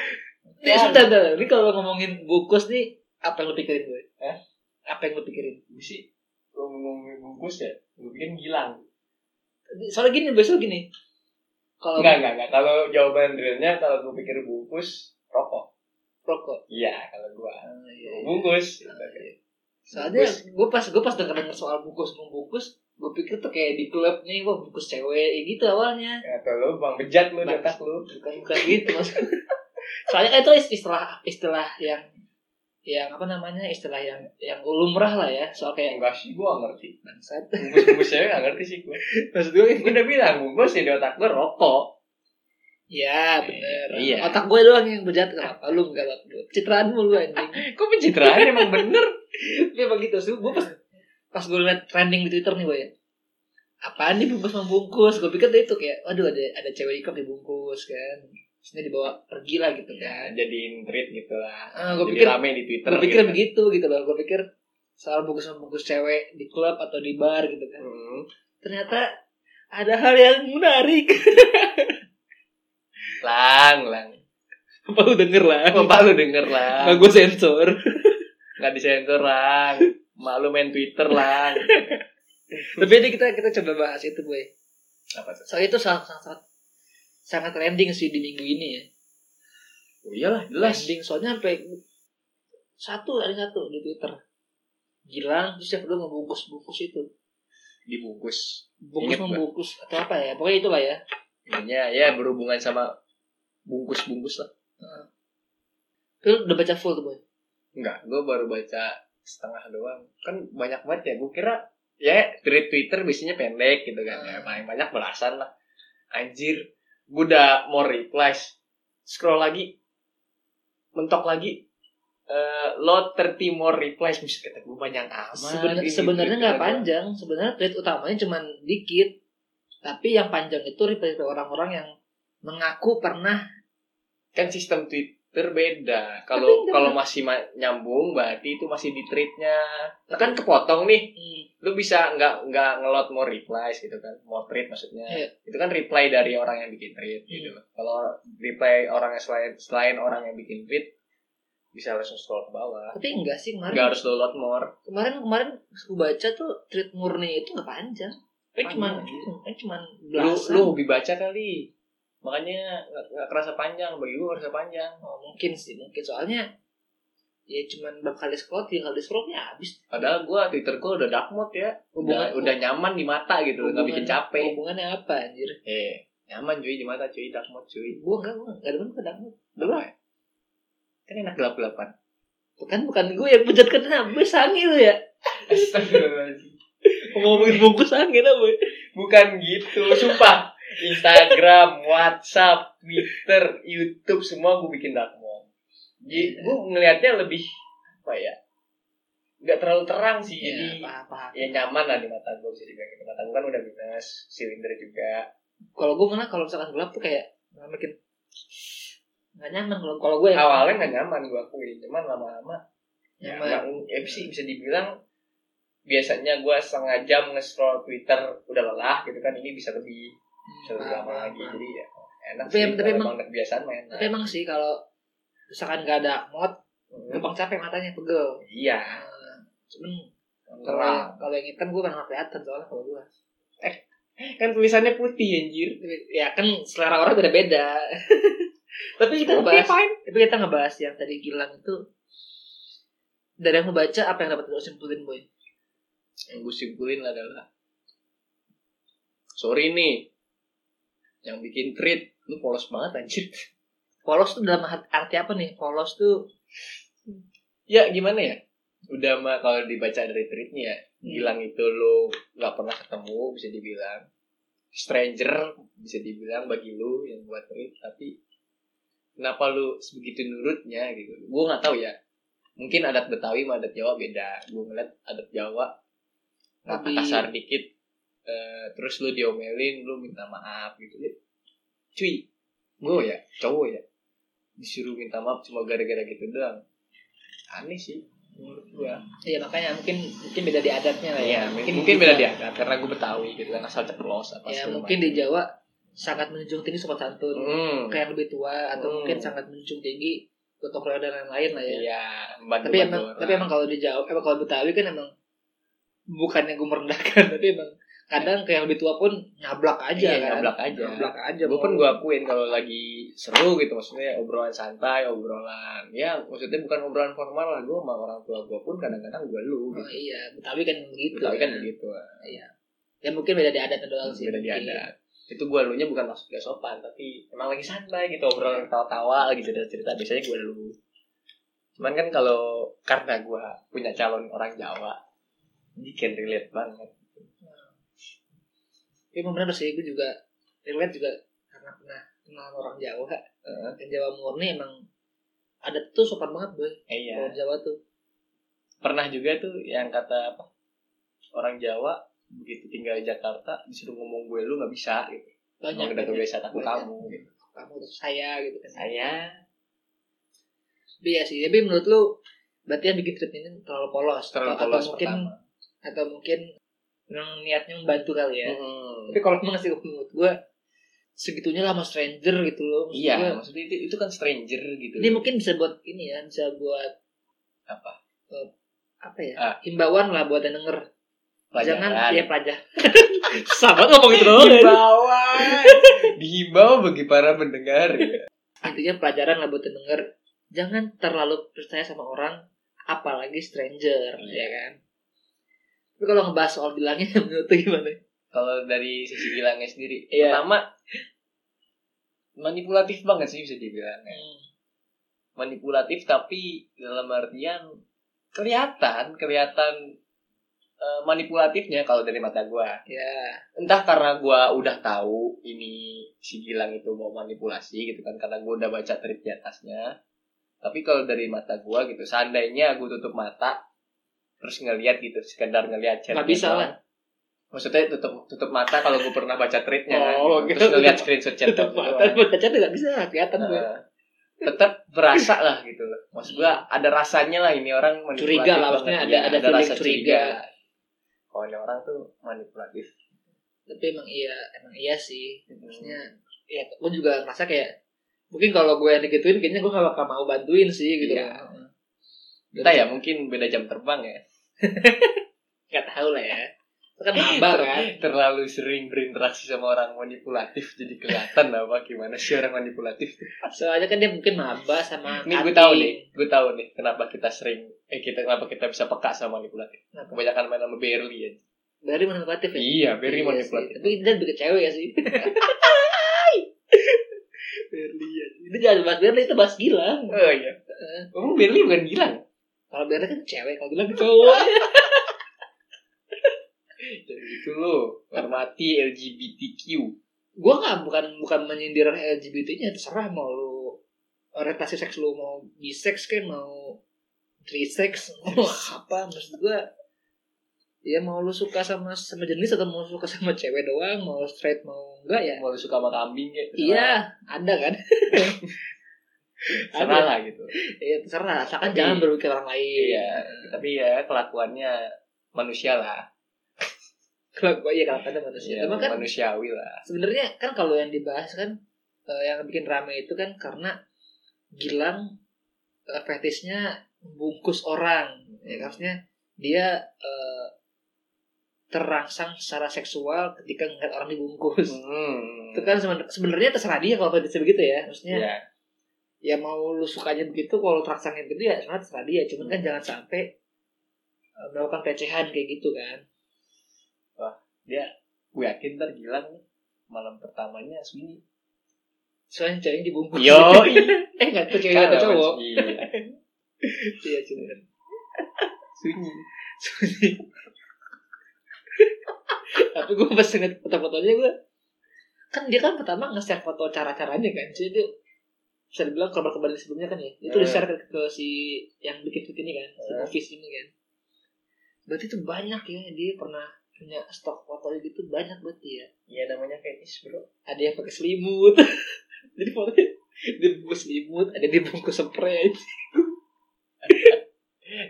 [SPEAKER 2] Nih, sebentar, sebentar. Ini kalau ngomongin bungkus nih, apa yang lu pikirin gue?
[SPEAKER 1] Hah?
[SPEAKER 2] Apa yang lu pikirin?
[SPEAKER 1] gue sih gue ngomongin bungkus ya gue pikir gilang
[SPEAKER 2] Soalnya gini, besok gini. Kalau
[SPEAKER 1] enggak enggak enggak kalau jawaban realnya kalau gue pikir bungkus rokok
[SPEAKER 2] rokok.
[SPEAKER 1] iya kalau gue
[SPEAKER 2] Ah, iya, iya.
[SPEAKER 1] bungkus
[SPEAKER 2] Soalnya
[SPEAKER 1] Bungkus.
[SPEAKER 2] gue pas gue pas denger denger soal bungkus membungkus, gue pikir tuh kayak di klub nih, wah bungkus cewek ya gitu awalnya.
[SPEAKER 1] atau lo bang bejat lo di
[SPEAKER 2] Bang.
[SPEAKER 1] otak lo
[SPEAKER 2] Nah, bukan bukan gitu mas soalnya kan itu istilah istilah yang yang apa namanya istilah yang yang lumrah lah ya soal kayak
[SPEAKER 1] enggak sih gue ngerti
[SPEAKER 2] bangsat
[SPEAKER 1] bungkus bungkus cewek nggak ngerti sih gue
[SPEAKER 2] maksud gue
[SPEAKER 1] gue udah bilang bungkus ya di otak gue rokok
[SPEAKER 2] ya bener
[SPEAKER 1] Iya.
[SPEAKER 2] otak gue doang yang berjat kenapa lu enggak bak lu citraan mulu anjing
[SPEAKER 1] kok pencitraan emang bener
[SPEAKER 2] ya begitu sih gue pas pas gue liat trending di twitter nih gue ya apaan nih bungkus membungkus gue pikir tuh itu kayak waduh ada ada cewek di klub dibungkus kan Maksudnya dibawa pergi lah gitu kan.
[SPEAKER 1] Ya, jadiin treat gitu lah.
[SPEAKER 2] Ah, gua
[SPEAKER 1] Iya. Jadi
[SPEAKER 2] pikir-
[SPEAKER 1] rame di Twitter.
[SPEAKER 2] Gue pikir
[SPEAKER 1] gitu.
[SPEAKER 2] begitu gitu loh. Gue pikir soal bungkus-bungkus cewek di klub atau di bar gitu kan.
[SPEAKER 1] Hmm.
[SPEAKER 2] Ternyata ada hal yang menarik.
[SPEAKER 1] Lang, lang.
[SPEAKER 2] Apa lu denger lah?
[SPEAKER 1] Bapak lu denger lah.
[SPEAKER 2] gue sensor.
[SPEAKER 1] Nggak disensor lang. Mak lu main Twitter lang.
[SPEAKER 2] Tapi ini kita kita coba bahas itu boy.
[SPEAKER 1] Apa tuh?
[SPEAKER 2] Soalnya itu sangat sangat sangat trending sih di minggu ini ya.
[SPEAKER 1] Oh iyalah, jelas.
[SPEAKER 2] Trending soalnya sampai satu ada satu di Twitter. Gilang terus yang kedua membungkus-bungkus itu.
[SPEAKER 1] Dibungkus.
[SPEAKER 2] Bungkus
[SPEAKER 1] Ingat nggak?
[SPEAKER 2] membungkus atau apa ya? Pokoknya itulah ya.
[SPEAKER 1] Intinya ya berhubungan sama bungkus-bungkus lah.
[SPEAKER 2] Itu udah baca full tuh boy.
[SPEAKER 1] Enggak, gue baru baca setengah doang. Kan banyak banget ya. Gue kira ya tweet Twitter biasanya pendek gitu kan. Ya, paling banyak belasan lah. Anjir, gue udah mau replies. Scroll lagi. Mentok lagi. Eh, lo 30 more replies mesti kata gue panjang amat
[SPEAKER 2] Sebenar-
[SPEAKER 1] ini
[SPEAKER 2] sebenarnya
[SPEAKER 1] Twitter
[SPEAKER 2] nggak
[SPEAKER 1] gua.
[SPEAKER 2] panjang sebenarnya tweet utamanya cuman dikit tapi yang panjang itu reply reply orang-orang yang mengaku pernah
[SPEAKER 1] kan sistem Twitter beda.
[SPEAKER 2] Tapi
[SPEAKER 1] Kalau
[SPEAKER 2] enggak.
[SPEAKER 1] kalau masih ma- nyambung berarti itu masih di treatnya. Nah, kan kepotong nih. Lu bisa nggak nggak ngelot mau replies gitu kan. Mau treat maksudnya.
[SPEAKER 2] Iya.
[SPEAKER 1] Itu kan reply dari orang yang bikin tweet gitu. Kalau reply orang yang selain selain orang yang bikin tweet bisa langsung scroll ke bawah.
[SPEAKER 2] tapi enggak sih kemarin
[SPEAKER 1] Nggak harus lu lot more.
[SPEAKER 2] kemarin kemarin aku baca tuh tweet murni itu nggak panjang kan
[SPEAKER 1] Panjang.
[SPEAKER 2] cuman kan cuman
[SPEAKER 1] Eh, Lu
[SPEAKER 2] belasan
[SPEAKER 1] lu hobi baca kali. Makanya nggak nggak kerasa panjang bagi gua kerasa panjang.
[SPEAKER 2] Oh, mungkin sih mungkin soalnya ya cuman bakal di scroll tiga kali scrollnya ya habis
[SPEAKER 1] Padahal gua Twitter gua udah dark mode ya. Udah, udah nyaman di mata gitu, nggak bikin
[SPEAKER 2] hubungan-
[SPEAKER 1] capek.
[SPEAKER 2] hubungannya apa anjir
[SPEAKER 1] Eh, nyaman cuy di mata cuy, dark mode cuy.
[SPEAKER 2] gua enggak gua enggak demen kadang
[SPEAKER 1] Gelap. ya? Kan enak gelap-gelapan.
[SPEAKER 2] bukan bukan gua yang pencet kena bus angin lu ya
[SPEAKER 1] Astagfirullahaladzim.
[SPEAKER 2] ngomongin bungkus angin apa
[SPEAKER 1] Bukan gitu, sumpah. Instagram, WhatsApp, Twitter, YouTube semua gue bikin dark mode.
[SPEAKER 2] Iya.
[SPEAKER 1] Jadi gue ngelihatnya lebih apa ya? Nggak terlalu terang sih, jadi
[SPEAKER 2] apa apa
[SPEAKER 1] ya nyaman lah di mata gue bisa dibilang gitu. Mata gue kan udah minus, silinder juga.
[SPEAKER 2] kalau gue malah kalau misalkan gelap tuh kayak malah makin nggak nyaman kalau ya. kalau gue yang
[SPEAKER 1] Awalnya nggak nyaman gue akuin, cuman lama-lama ya, nggak-
[SPEAKER 2] Nyaman.
[SPEAKER 1] ya sih bisa dibilang biasanya gue setengah jam nge-scroll Twitter udah lelah gitu kan ini bisa lebih bisa lebih
[SPEAKER 2] Hmm,
[SPEAKER 1] lama
[SPEAKER 2] Paham, paham,
[SPEAKER 1] lagi
[SPEAKER 2] paham.
[SPEAKER 1] jadi ya enak
[SPEAKER 2] Tapi
[SPEAKER 1] sih
[SPEAKER 2] em-
[SPEAKER 1] kalau
[SPEAKER 2] tapi
[SPEAKER 1] emang kebiasaan main
[SPEAKER 2] tapi emang sih kalau misalkan nggak ada mod
[SPEAKER 1] Hmm.
[SPEAKER 2] gampang capek matanya pegel
[SPEAKER 1] iya
[SPEAKER 2] cuman kalau
[SPEAKER 1] terang
[SPEAKER 2] yang- kalau yang hitam gue pernah kelihatan soalnya kalau gue
[SPEAKER 1] kan tulisannya putih anjir
[SPEAKER 2] ya kan selera orang beda beda tapi kita
[SPEAKER 1] Oke,
[SPEAKER 2] ngebahas
[SPEAKER 1] fine.
[SPEAKER 2] tapi kita ngebahas yang tadi Gilang itu dari yang ngebaca apa yang dapat lo simpulin boy
[SPEAKER 1] yang gue simpulin adalah sorry nih yang bikin treat lu polos banget anjir
[SPEAKER 2] polos tuh dalam hat- arti apa nih polos tuh
[SPEAKER 1] ya gimana ya udah mah kalau dibaca dari tweetnya ya bilang itu lo nggak pernah ketemu bisa dibilang stranger bisa dibilang bagi lu yang buat tweet tapi kenapa lu sebegitu nurutnya gitu gue nggak tahu ya mungkin adat Betawi sama adat Jawa beda gue ngeliat adat Jawa kata
[SPEAKER 2] Lebih-
[SPEAKER 1] kasar dikit eh, terus lu diomelin lu minta maaf gitu cuy gue ya cowok ya disuruh minta maaf cuma gara-gara gitu doang aneh sih menurut gue
[SPEAKER 2] Iya makanya mungkin mungkin beda di adatnya lah ya.
[SPEAKER 1] Iya, mungkin, mungkin beda dia karena gue betawi gitu kan asal ceplos apa
[SPEAKER 2] Ya
[SPEAKER 1] segala
[SPEAKER 2] mungkin di
[SPEAKER 1] macam.
[SPEAKER 2] Jawa sangat menjunjung tinggi sopan santun,
[SPEAKER 1] Hmm.
[SPEAKER 2] kayak yang lebih tua atau
[SPEAKER 1] Hmm.
[SPEAKER 2] mungkin sangat menjunjung tinggi gotong royong dan lain-lain lah ya.
[SPEAKER 1] Iya, membantu
[SPEAKER 2] Tapi emang tapi emang kalau di Jawa, emang kalau Betawi kan emang bukannya gue merendahkan, tapi emang kadang kayak yang lebih tua pun nyablak aja
[SPEAKER 1] Iya,
[SPEAKER 2] kan.
[SPEAKER 1] nyablak aja.
[SPEAKER 2] Nyablak aja.
[SPEAKER 1] gue
[SPEAKER 2] mau-
[SPEAKER 1] pun gue akuin kalau lagi seru gitu maksudnya obrolan santai, obrolan ya maksudnya bukan obrolan formal lah gue sama orang tua gue pun kadang-kadang gue lu
[SPEAKER 2] Oh,
[SPEAKER 1] gitu.
[SPEAKER 2] iya, Betawi kan begitu.
[SPEAKER 1] Betawi kan begitu.
[SPEAKER 2] Ya mungkin beda di adatnya doang sih. iya.
[SPEAKER 1] Beda di
[SPEAKER 2] mungkin.
[SPEAKER 1] adat. Itu gue lu nya bukan maksud gak sopan tapi emang lagi santai gitu
[SPEAKER 2] Iya.
[SPEAKER 1] obrolan tawa-tawa lagi cerita-cerita biasanya gue lu. Cuman kan kalau karena gue punya calon orang Jawa, bikin relate banget.
[SPEAKER 2] Tapi emang benar sih, gue juga relate juga karena pernah kenal sama orang Jawa.
[SPEAKER 1] Heeh.
[SPEAKER 2] Yang Jawa murni emang adat tuh sopan banget boy.
[SPEAKER 1] Eh, Iya.
[SPEAKER 2] Kalau Jawa tuh
[SPEAKER 1] Pernah juga tuh yang kata apa? Orang Jawa begitu tinggal di Jakarta disuruh ngomong gue lu nggak bisa gitu. Yang
[SPEAKER 2] banyak.
[SPEAKER 1] udah
[SPEAKER 2] banyak.
[SPEAKER 1] kebiasaan aku
[SPEAKER 2] Banyak.
[SPEAKER 1] kamu gitu.
[SPEAKER 2] kamu terus saya gitu kan
[SPEAKER 1] saya
[SPEAKER 2] tapi ya sih tapi menurut lu berarti yang bikin trip ini terlalu polos
[SPEAKER 1] terlalu
[SPEAKER 2] atau,
[SPEAKER 1] polos
[SPEAKER 2] atau mungkin
[SPEAKER 1] pertama
[SPEAKER 2] atau mungkin memang niatnya membantu kali ya
[SPEAKER 1] Mm.
[SPEAKER 2] tapi kalau emang sih menurut gue segitunya lah sama stranger gitu loh Maksud
[SPEAKER 1] iya
[SPEAKER 2] gua,
[SPEAKER 1] maksudnya itu itu kan stranger gitu
[SPEAKER 2] ini mungkin bisa buat ini ya bisa buat
[SPEAKER 1] apa
[SPEAKER 2] apa ya
[SPEAKER 1] Ah.
[SPEAKER 2] himbauan lah buat yang denger jangan ya pelajar sahabat ngomong gitu
[SPEAKER 1] dibawa dihimbau bagi para pendengar
[SPEAKER 2] intinya pelajaran lah buat yang denger jangan terlalu percaya sama orang apalagi stranger
[SPEAKER 1] Iya.
[SPEAKER 2] ya kan tapi kalau ngebahas soal bilangnya menurut lu gimana
[SPEAKER 1] kalau dari sisi bilangnya sendiri
[SPEAKER 2] Iya.
[SPEAKER 1] pertama manipulatif banget sih bisa dibilang manipulatif tapi dalam artian kelihatan kelihatan eh, manipulatifnya kalau dari mata gua
[SPEAKER 2] ya
[SPEAKER 1] entah karena gua udah tahu ini si Gilang itu mau manipulasi gitu kan karena gua udah baca trip di atasnya tapi kalau dari mata gua gitu seandainya gua tutup mata terus ngelihat gitu sekedar ngelihat chatnya
[SPEAKER 2] Nggak bisa
[SPEAKER 1] doang.
[SPEAKER 2] lah.
[SPEAKER 1] maksudnya tutup tutup mata kalau gua pernah baca tripnya kan,
[SPEAKER 2] Oh,
[SPEAKER 1] gitu.
[SPEAKER 2] gitu.
[SPEAKER 1] terus ngelihat screenshot chatnya
[SPEAKER 2] tetap
[SPEAKER 1] doang.
[SPEAKER 2] mata baca tidak bisa kelihatan gue
[SPEAKER 1] Nah, tetap berasa lah gitu loh. Maksud gua ada rasanya lah ini orang manipulatif
[SPEAKER 2] Curiga lah,
[SPEAKER 1] banget.
[SPEAKER 2] maksudnya ada-
[SPEAKER 1] Iya,
[SPEAKER 2] ada feeling curiga.
[SPEAKER 1] Kalau ini orang tuh manipulatif.
[SPEAKER 2] tapi emang iya emang iya sih
[SPEAKER 1] Maksudnya
[SPEAKER 2] maksudnya ya gue juga ngerasa kayak mungkin kalau gue yang digituin kayaknya gue gak bakal mau bantuin sih gitu
[SPEAKER 1] Iya.
[SPEAKER 2] loh.
[SPEAKER 1] Entah ya mungkin beda jam terbang ya.
[SPEAKER 2] nggak tahu lah ya itu kan nambah kan
[SPEAKER 1] Terlalu sering berinteraksi sama orang manipulatif jadi kelihatan lah apa gimana sih orang manipulatif. tuh.
[SPEAKER 2] soalnya kan dia mungkin maba sama
[SPEAKER 1] Ini gue
[SPEAKER 2] cutting.
[SPEAKER 1] tahu nih, gue tahu nih kenapa kita sering eh kita kenapa kita bisa peka sama manipulatif.
[SPEAKER 2] Kenapa?
[SPEAKER 1] Kebanyakan main sama Berli ya.
[SPEAKER 2] Barry manipulatif ya
[SPEAKER 1] Iya, Berli
[SPEAKER 2] Iya sih.
[SPEAKER 1] manipulatif.
[SPEAKER 2] tapi dia lebih ke cewek ya sih Berli ya itu jangan bahas Berli itu bahas Gilang
[SPEAKER 1] Oh iya. Emang Berli bukan Gilang?
[SPEAKER 2] kalau Berli kan cewek kalau Gilang cowok
[SPEAKER 1] Jadi gitu loh, hormati LGBTQ.
[SPEAKER 2] gue nggak bukan bukan menyindir LGBT-nya terserah mau lu orientasi seks lu mau bisex kan mau trisex mau apa maksud gue ya mau lu suka sama sama jenis atau mau suka sama cewek doang mau straight mau enggak ya
[SPEAKER 1] Mau lu suka sama kambing kayak gitu.
[SPEAKER 2] iya ada kan
[SPEAKER 1] Salah lah gitu.
[SPEAKER 2] ya terserah asalkan
[SPEAKER 1] Tapi-
[SPEAKER 2] jangan berpikir orang lain
[SPEAKER 1] Iya, tapi ya kelakuannya manusia lah.
[SPEAKER 2] kalau gue ya kalau ada manusia
[SPEAKER 1] Iya,
[SPEAKER 2] Cuma kan
[SPEAKER 1] manusiawi lah.
[SPEAKER 2] sebenarnya kan kalau yang dibahas kan eh, yang bikin rame itu kan karena Gilang eh, fetishnya bungkus orang ya maksudnya dia eh, terangsang secara seksual ketika ngeliat orang dibungkus
[SPEAKER 1] Hmm.
[SPEAKER 2] itu kan sebenar- sebenarnya terserah dia kalau fetishnya begitu ya maksudnya
[SPEAKER 1] Iya.
[SPEAKER 2] ya mau lu sukanya begitu kalau terangsangnya begitu ya sebenarnya terserah dia cuman kan jangan sampai eh, melakukan pelecehan kayak gitu kan
[SPEAKER 1] Gue yakin ntar Gilang malam pertamanya sini.
[SPEAKER 2] soalnya ceweknya dibungkus eh nggak tuh cewek
[SPEAKER 1] Kan
[SPEAKER 2] atau cowok
[SPEAKER 1] Iya.
[SPEAKER 2] iya cuman
[SPEAKER 1] Sunyi.
[SPEAKER 2] Sunyi. Tapi gue pas ngeliat foto-fotonya gue kan dia kan pertama nge-share foto cara-caranya kan. Jadi dia bisa dibilang kabar-kabar dari sebelumnya kan ya. Itu
[SPEAKER 1] Hmm.
[SPEAKER 2] di-share ke, ke si yang bikin tweet ini kan, si
[SPEAKER 1] Hmm.
[SPEAKER 2] office ini kan. Berarti itu banyak ya dia pernah punya stok foto gitu banyak berarti ya.
[SPEAKER 1] Iya namanya fetish, Bro.
[SPEAKER 2] Ada yang pakai selimut. Jadi fotonya dibungkus selimut, ada yang dibungkus spray.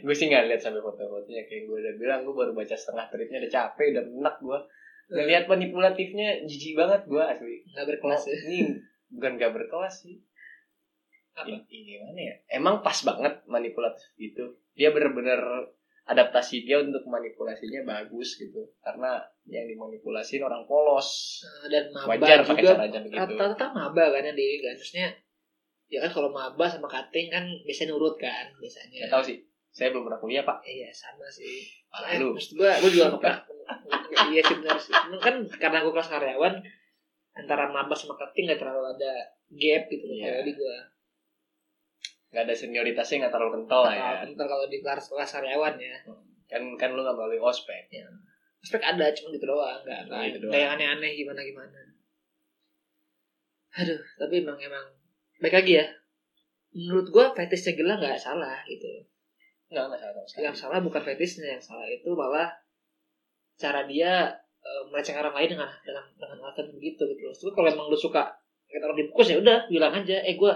[SPEAKER 1] Gue sih nggak lihat sampai foto-fotonya kayak gue udah bilang gue baru baca setengah tripnya udah capek, udah enak gue. Ngelihat manipulatifnya jijik banget gue asli.
[SPEAKER 2] Nggak berkelas ya.
[SPEAKER 1] Oh, ini bukan gak berkelas sih
[SPEAKER 2] Apa?
[SPEAKER 1] Ini- ini gimana ya emang pas banget manipulatif gitu dia bener-bener adaptasi dia untuk manipulasinya bagus gitu karena yang dimanipulasiin orang polos
[SPEAKER 2] Nah, dan maba
[SPEAKER 1] Wajar pakai
[SPEAKER 2] juga
[SPEAKER 1] cara-cara begitu.
[SPEAKER 2] rata-rata maba kan yang di kan Terusnya, ya kan kalau maba sama kating kan biasanya nurut kan biasanya
[SPEAKER 1] nggak tahu sih saya belum pernah kuliah pak
[SPEAKER 2] iya sama sih Eh,
[SPEAKER 1] lalu
[SPEAKER 2] maksud gua gua juga nggak pernah iya sih benar sih Cuman kan karena gua kelas karyawan antara maba sama kating nggak terlalu ada gap gitu loh
[SPEAKER 1] Iya.
[SPEAKER 2] kalau di gua
[SPEAKER 1] nggak ada senioritasnya nggak terlalu kental lah ya
[SPEAKER 2] Kalau- kalau di kelas kelas karyawan ya
[SPEAKER 1] kan kan lu nggak melalui ospek
[SPEAKER 2] spek ada cuma gitu doang
[SPEAKER 1] Nah,
[SPEAKER 2] nggak
[SPEAKER 1] itu
[SPEAKER 2] nggak nggak
[SPEAKER 1] doang.
[SPEAKER 2] yang aneh-aneh gimana gimana aduh tapi emang emang baik lagi ya menurut gua fetishnya gila nggak salah gitu
[SPEAKER 1] nggak nggak salah sama sekali
[SPEAKER 2] yang salah bukan fetishnya yang salah itu malah cara dia eh, melecehkan orang lain dengan dengan dengan alasan begitu gitu loh Maksud gua kalau emang lu suka kata orang dibungkus ya udah bilang aja eh gue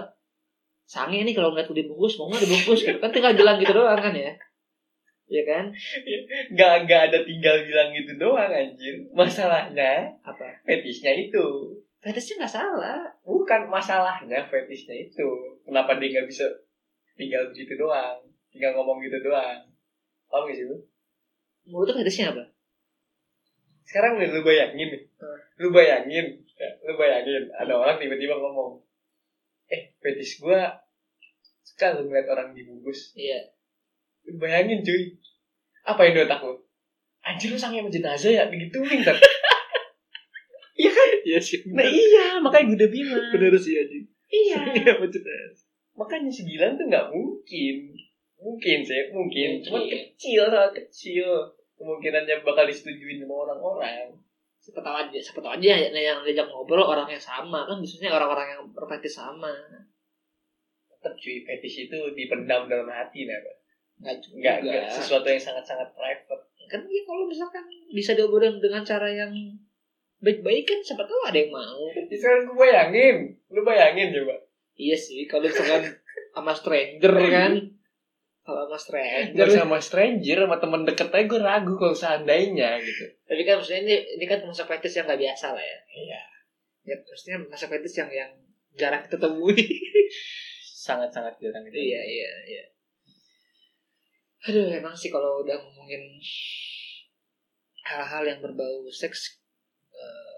[SPEAKER 2] sange nih kalau ngeliat gue dibungkus mau nggak dibungkus gitu kan tinggal bilang gitu doang kan ya ya kan
[SPEAKER 1] Gak, gak ada tinggal bilang gitu doang anjir. Masalahnya
[SPEAKER 2] apa
[SPEAKER 1] fetishnya itu.
[SPEAKER 2] fetishnya nggak salah
[SPEAKER 1] Bukan masalahnya fetishnya itu. Kenapa dia gak bisa tinggal begitu doang. Tinggal ngomong gitu doang. Paham gak sih lu?
[SPEAKER 2] menurut tuh fetishnya apa
[SPEAKER 1] Sekarang nih, lu bayangin nih.
[SPEAKER 2] Hmm.
[SPEAKER 1] Lu bayangin. Ya, Lu bayangin. Ada orang tiba-tiba ngomong. Eh fetish gua suka lu ngeliat orang dibungkus.
[SPEAKER 2] iya
[SPEAKER 1] Lu Bayangin cuy. Apa yang di otak lu? Anjir lu sange sama jenazah ya digituin ter.
[SPEAKER 2] iya sih
[SPEAKER 1] Nah iya, makanya gue udah bilang.
[SPEAKER 2] sih aja
[SPEAKER 1] Iya.
[SPEAKER 2] bener
[SPEAKER 1] makanya segilan tuh nggak mungkin. Mungkin sih, mungkin.
[SPEAKER 2] Mungkin.
[SPEAKER 1] Cuma kecil, sangat kecil. Kemungkinannya bakal disetujuin sama orang-orang.
[SPEAKER 2] siapa tahu aja siapa tahu aja ya, yang diajak ngobrol orang yang sama kan biasanya orang-orang yang berfetish sama
[SPEAKER 1] Tetap cuy, fetish itu dipendam dalam hati, nah. Pak.
[SPEAKER 2] nggak
[SPEAKER 1] Nggak,
[SPEAKER 2] juga.
[SPEAKER 1] nggak sesuatu yang sangat-sangat private.
[SPEAKER 2] kan ya kalau misalkan bisa diobrolin dengan cara yang baik-baik kan siapa tahu ada yang mau
[SPEAKER 1] Jadi sekarang gue bayangin, lu bayangin coba.
[SPEAKER 2] iya sih kalau misalkan sama stranger kan kalau sama stranger
[SPEAKER 1] Gak sama stranger, sama temen deket aja gue ragu kalau seandainya gitu.
[SPEAKER 2] tapi kan maksudnya ini ini kan masa fetish yang nggak biasa lah ya
[SPEAKER 1] Iya.
[SPEAKER 2] ya maksudnya masa fetish yang yang jarang kita temui
[SPEAKER 1] Sangat-sangat jarang gitu.
[SPEAKER 2] iya iya iya aduh emang sih kalau udah ngomongin hal-hal yang berbau seks eh,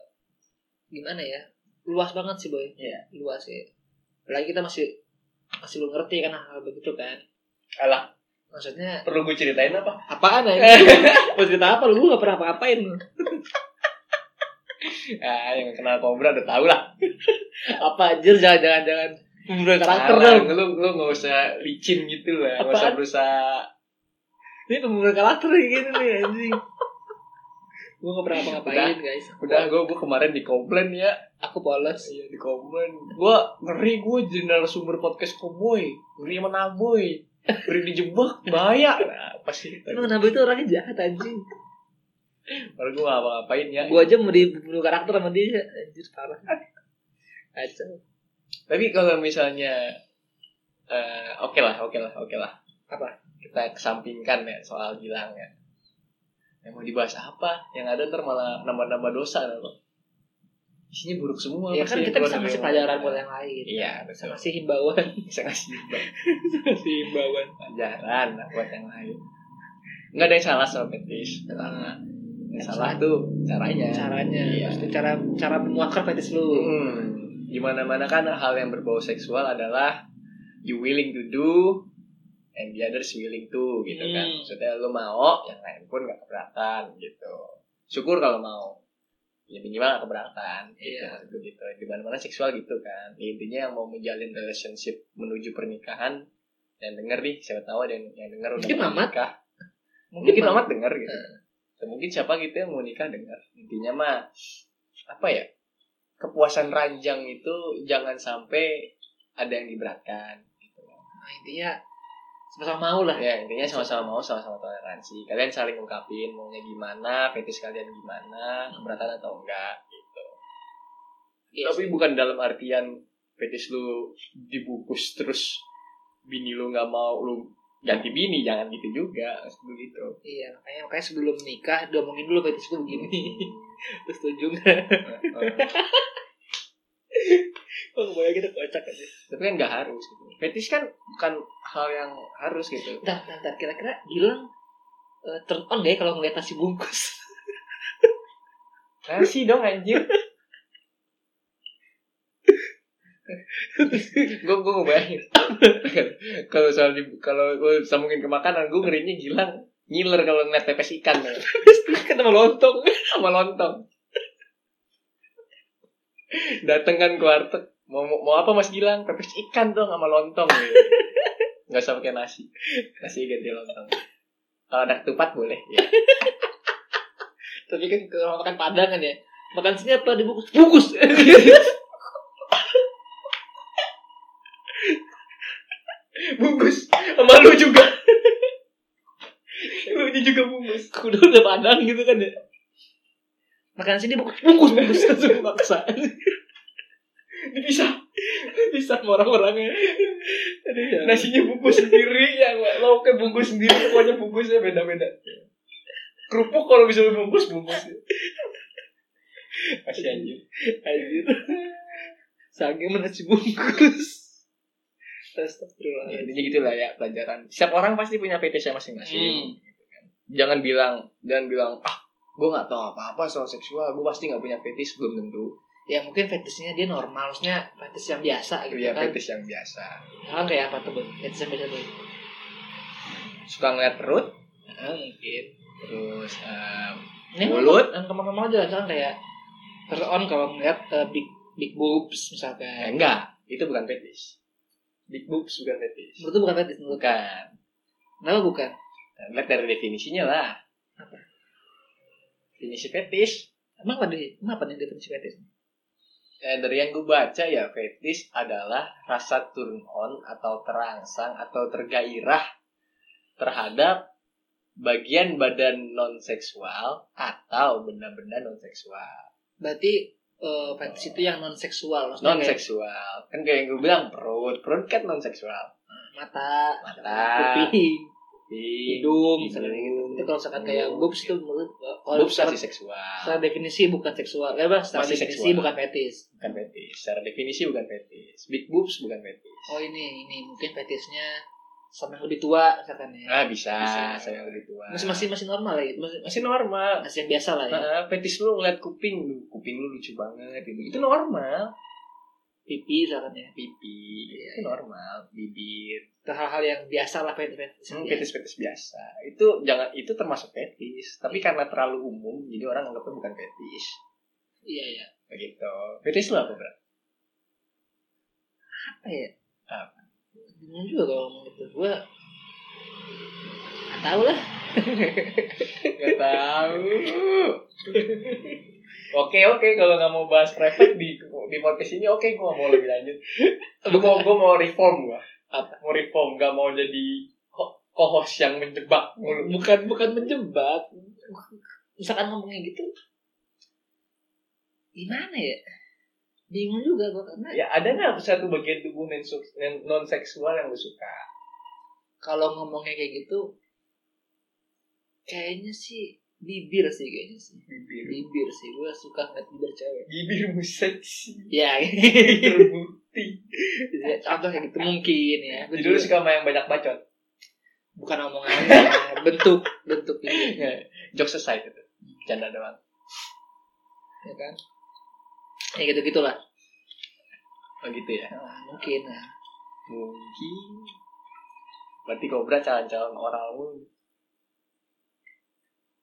[SPEAKER 2] gimana ya luas banget sih boy
[SPEAKER 1] Iya.
[SPEAKER 2] luas ya lagi kita masih masih belum ngerti kan hal begitu kan
[SPEAKER 1] Alah,
[SPEAKER 2] maksudnya
[SPEAKER 1] perlu gue ceritain apa?
[SPEAKER 2] apaan aja mau cerita apa lu gak pernah apa-apain lu
[SPEAKER 1] Ah, yang kenal Cobra udah tau lah.
[SPEAKER 2] apa anjir jangan jangan jangan
[SPEAKER 1] Pembunuhan
[SPEAKER 2] karakter
[SPEAKER 1] dong. Lu lu nggak usah licin gitu lah, nggak usah
[SPEAKER 2] Apaan?
[SPEAKER 1] berusaha.
[SPEAKER 2] ini pembunuhan karakter kayak gitu nih anjing gue gak pernah apa-apain guys
[SPEAKER 1] Udah gue gue kemarin di komplain ya,
[SPEAKER 2] aku polos
[SPEAKER 1] iya di komplain. Gue ngeri gue jadi sumber podcast koboi, ngeri sama naboy, ngeri dijebak bahaya. Nah, apa sih?
[SPEAKER 2] Emang Nabi itu orangnya jahat anjing
[SPEAKER 1] Baru gue ngapa ngapain ya.
[SPEAKER 2] Gue aja mau dibunuh karakter sama dia Anjir parah Kacau
[SPEAKER 1] Tapi kalau misalnya, eh, oke lah, oke lah, oke lah.
[SPEAKER 2] Apa?
[SPEAKER 1] Kita kesampingkan ya soal Gilang ya. Yang mau dibahas apa? Yang ada ntar malah nambah-nambah dosa loh. Isinya buruk semua.
[SPEAKER 2] Ya
[SPEAKER 1] pasti
[SPEAKER 2] kan
[SPEAKER 1] yang
[SPEAKER 2] kita
[SPEAKER 1] keluar
[SPEAKER 2] bisa
[SPEAKER 1] dari
[SPEAKER 2] ngasih
[SPEAKER 1] omongan
[SPEAKER 2] pelajaran
[SPEAKER 1] kita.
[SPEAKER 2] buat yang lain
[SPEAKER 1] Iya,
[SPEAKER 2] Bisa
[SPEAKER 1] betul.
[SPEAKER 2] ngasih himbauan
[SPEAKER 1] Bisa ngasih himbauan.
[SPEAKER 2] Ngasih himbauan
[SPEAKER 1] pelajaran lah buat yang lain. Nggak ada yang salah sama fetish. Pertama, yang salah tuh caranya.
[SPEAKER 2] Caranya
[SPEAKER 1] Iya.
[SPEAKER 2] Pasti cara cara menguakkan fetish lu
[SPEAKER 1] Hmm, gimana-mana kan hal yang berbau seksual adalah you willing to do and the others willing to gitu kan.
[SPEAKER 2] Hmm.
[SPEAKER 1] Maksudnya lu mau, yang lain pun nggak keberatan gitu. Syukur kalau mau. Ya minimal nggak keberatan. Gitu,
[SPEAKER 2] Iya.
[SPEAKER 1] maksud gue gitu. Dimana-mana seksual gitu kan. Ya, intinya yang mau menjalin relationship menuju pernikahan yang denger nih, siapa tahu ada yang, yang denger udah
[SPEAKER 2] Mungkin
[SPEAKER 1] mau
[SPEAKER 2] Mamat.
[SPEAKER 1] nikah. Mungkin
[SPEAKER 2] Mamat.
[SPEAKER 1] amat denger gitu. Atau Mungkin siapa gitu yang mau nikah denger. Intinya mah apa ya? Kepuasan ranjang itu jangan sampai ada yang diberatkan. Gitu.
[SPEAKER 2] Nah, Intinya Sama-sama mau lah
[SPEAKER 1] Ya intinya sama-sama mau sama-sama toleransi. Kalian saling ungkapin maunya gimana, fetish kalian gimana, keberatan atau enggak gitu.
[SPEAKER 2] Iya
[SPEAKER 1] Tapi
[SPEAKER 2] sih.
[SPEAKER 1] bukan dalam artian fetish lu dibungkus terus bini lu nggak mau lu ganti bini jangan gitu juga gitu. begitu.
[SPEAKER 2] Iya makanya, makanya sebelum nikah Diomongin dulu fetish gue begini
[SPEAKER 1] Hmm.
[SPEAKER 2] Lu setuju gak?
[SPEAKER 1] Oh,
[SPEAKER 2] Gue kebayang kita kocak aja
[SPEAKER 1] tapi kan nggak harus gitu. fetish kan bukan hal yang harus gitu
[SPEAKER 2] Bentar, bentar, bentar. Kira-kira Gilang eh, turn on gak ya kalau ngeliat nasi bungkus?
[SPEAKER 1] nasi dong anjir gue gue bayangin kalau soal di, kalau gue sambungin ke makanan gue ngerinya gilang ngiler kalau ngeliat pepes ikan ya.
[SPEAKER 2] kan sama lontong
[SPEAKER 1] sama lontong dateng kan ke warteg mau mau mau apa mas gilang pepes ikan dong sama lontong gitu. nggak usah pakai nasi nasi ganti lontong kalau ada ketupat boleh ya.
[SPEAKER 2] tapi kan kalau makan padang kan ya makan sini apa dibungkus bungkus
[SPEAKER 1] bungkus sama lu juga lu juga bungkus
[SPEAKER 2] kudu udah padang gitu kan ya makan sini bungkus bungkus bungkus langsung paksa
[SPEAKER 1] dipisah dipisah sama orang-orangnya
[SPEAKER 2] Aduh, ya.
[SPEAKER 1] nasinya bungkus sendiri ya lauknya bungkus sendiri pokoknya bungkusnya beda-beda kerupuk kalau bisa bungkus bungkus masih anjir
[SPEAKER 2] Anjir. Sage mana bungkus.
[SPEAKER 1] ya,
[SPEAKER 2] Astagfirullah.
[SPEAKER 1] intinya gitulah ya pelajaran setiap orang pasti punya fetishnya masing-masing
[SPEAKER 2] Hmm.
[SPEAKER 1] jangan bilang jangan bilang ah gue nggak tahu apa-apa soal seksual gue pasti nggak punya fetish belum tentu
[SPEAKER 2] Ya mungkin fetishnya dia normal, maksudnya fetish yang biasa gitu
[SPEAKER 1] ya
[SPEAKER 2] kan.
[SPEAKER 1] fetish yang biasa
[SPEAKER 2] Kan kayak apa tuh, Bun? Fetish yang biasa tuh.
[SPEAKER 1] suka ngeliat perut
[SPEAKER 2] Nah, mungkin.
[SPEAKER 1] terus em,
[SPEAKER 2] Ini
[SPEAKER 1] Mulut.
[SPEAKER 2] kan kemana-mana aja kan kayak turn on kalau ngeliat eh, big big
[SPEAKER 1] eh,
[SPEAKER 2] boobs misalkan.
[SPEAKER 1] enggak itu bukan fetish big boobs bukan fetish
[SPEAKER 2] Menurut lu bukan fetish menurut. lu.
[SPEAKER 1] bukan
[SPEAKER 2] Kenapa Nah, bukan?
[SPEAKER 1] Lihat dari definisinya lah.
[SPEAKER 2] Apa?
[SPEAKER 1] Definisi fetish.
[SPEAKER 2] Emang apa deh? Emang apa nih definisi fetish?
[SPEAKER 1] Eh, dari yang gue baca ya fetish adalah rasa turn on atau terangsang atau tergairah terhadap bagian badan non seksual atau benda-benda non seksual.
[SPEAKER 2] Berarti eh, fetish itu yang non seksual,
[SPEAKER 1] Non seksual kan kayak yang gue bilang perut perut kan non seksual.
[SPEAKER 2] mata,
[SPEAKER 1] Mata.
[SPEAKER 2] kuping, hidung,
[SPEAKER 1] Hidung.
[SPEAKER 2] misalnya gitu. Itu kalau misalkan kayak
[SPEAKER 1] Hidung.
[SPEAKER 2] boobs itu menurut eh, kalau
[SPEAKER 1] Iya, Boobs
[SPEAKER 2] secara,
[SPEAKER 1] masih seksual
[SPEAKER 2] secara definisi bukan seksual. Eh, Bang, secara
[SPEAKER 1] Masih
[SPEAKER 2] definisi
[SPEAKER 1] seksual.
[SPEAKER 2] bukan fetish.
[SPEAKER 1] bukan fetish. Secara definisi bukan fetish. Big boobs bukan fetish.
[SPEAKER 2] Oh, ini ini mungkin fetishnya sama yang lebih tua misalkan ya.
[SPEAKER 1] Ah bisa,
[SPEAKER 2] Bisa.
[SPEAKER 1] saya yang lebih tua.
[SPEAKER 2] Masih masih masih normal ya. Masih, masih
[SPEAKER 1] masih normal.
[SPEAKER 2] masih yang biasa lah ya.
[SPEAKER 1] Nah, fetish lu ngeliat kuping lu, kuping lu lucu banget gitu. Itu normal. Iya,
[SPEAKER 2] Pipi misalkan ya.
[SPEAKER 1] Pipi, itu normal. Bibir,
[SPEAKER 2] Itu hal-hal yang biasa lah fetish fetish.
[SPEAKER 1] itu fetish-fetish biasa. Itu jangan itu termasuk fetish, tapi karena terlalu umum jadi orang anggapnya bukan fetish.
[SPEAKER 2] Iya iya.
[SPEAKER 1] Begitu. Fetish lu apa, Bro?
[SPEAKER 2] Apa ya?
[SPEAKER 1] Apa?
[SPEAKER 2] Bingung juga kalau ngomong gitu. Gua Gak tau lah
[SPEAKER 1] Gak tahu. Oke oke kalau nggak mau bahas private di di podcast ini oke gua mau lebih lanjut. Gua mau gua mau reform gua.
[SPEAKER 2] Apa?
[SPEAKER 1] Mau reform gak mau jadi ko- co-host yang menjebak mulu.
[SPEAKER 2] Bukan bukan menjebak Misalkan ngomongnya gitu Gimana ya Bingung juga gua karena
[SPEAKER 1] Ya ada nggak satu bagian tubuh non- yang non seksual yang lu suka?
[SPEAKER 2] kalau ngomongnya kayak gitu kayaknya sih bibir sih kayaknya sih
[SPEAKER 1] Bibir.
[SPEAKER 2] bibir sih gue suka ngeliat bibir cewek
[SPEAKER 1] Bibirmu seksi.
[SPEAKER 2] ya
[SPEAKER 1] Terbukti.
[SPEAKER 2] contoh kayak gitu mungkin ya Gua
[SPEAKER 1] Jadi lu
[SPEAKER 2] juga-
[SPEAKER 1] suka sama yang banyak bacot.
[SPEAKER 2] bukan omongannya bentuk bentuk bibir
[SPEAKER 1] Ya, Jokes aside itu. Canda doang.
[SPEAKER 2] ya kan ya gitu gitulah
[SPEAKER 1] Oh gitu ya.
[SPEAKER 2] nah, mungkin nah.
[SPEAKER 1] Mungkin. Berarti kobra calon-calon oral lu.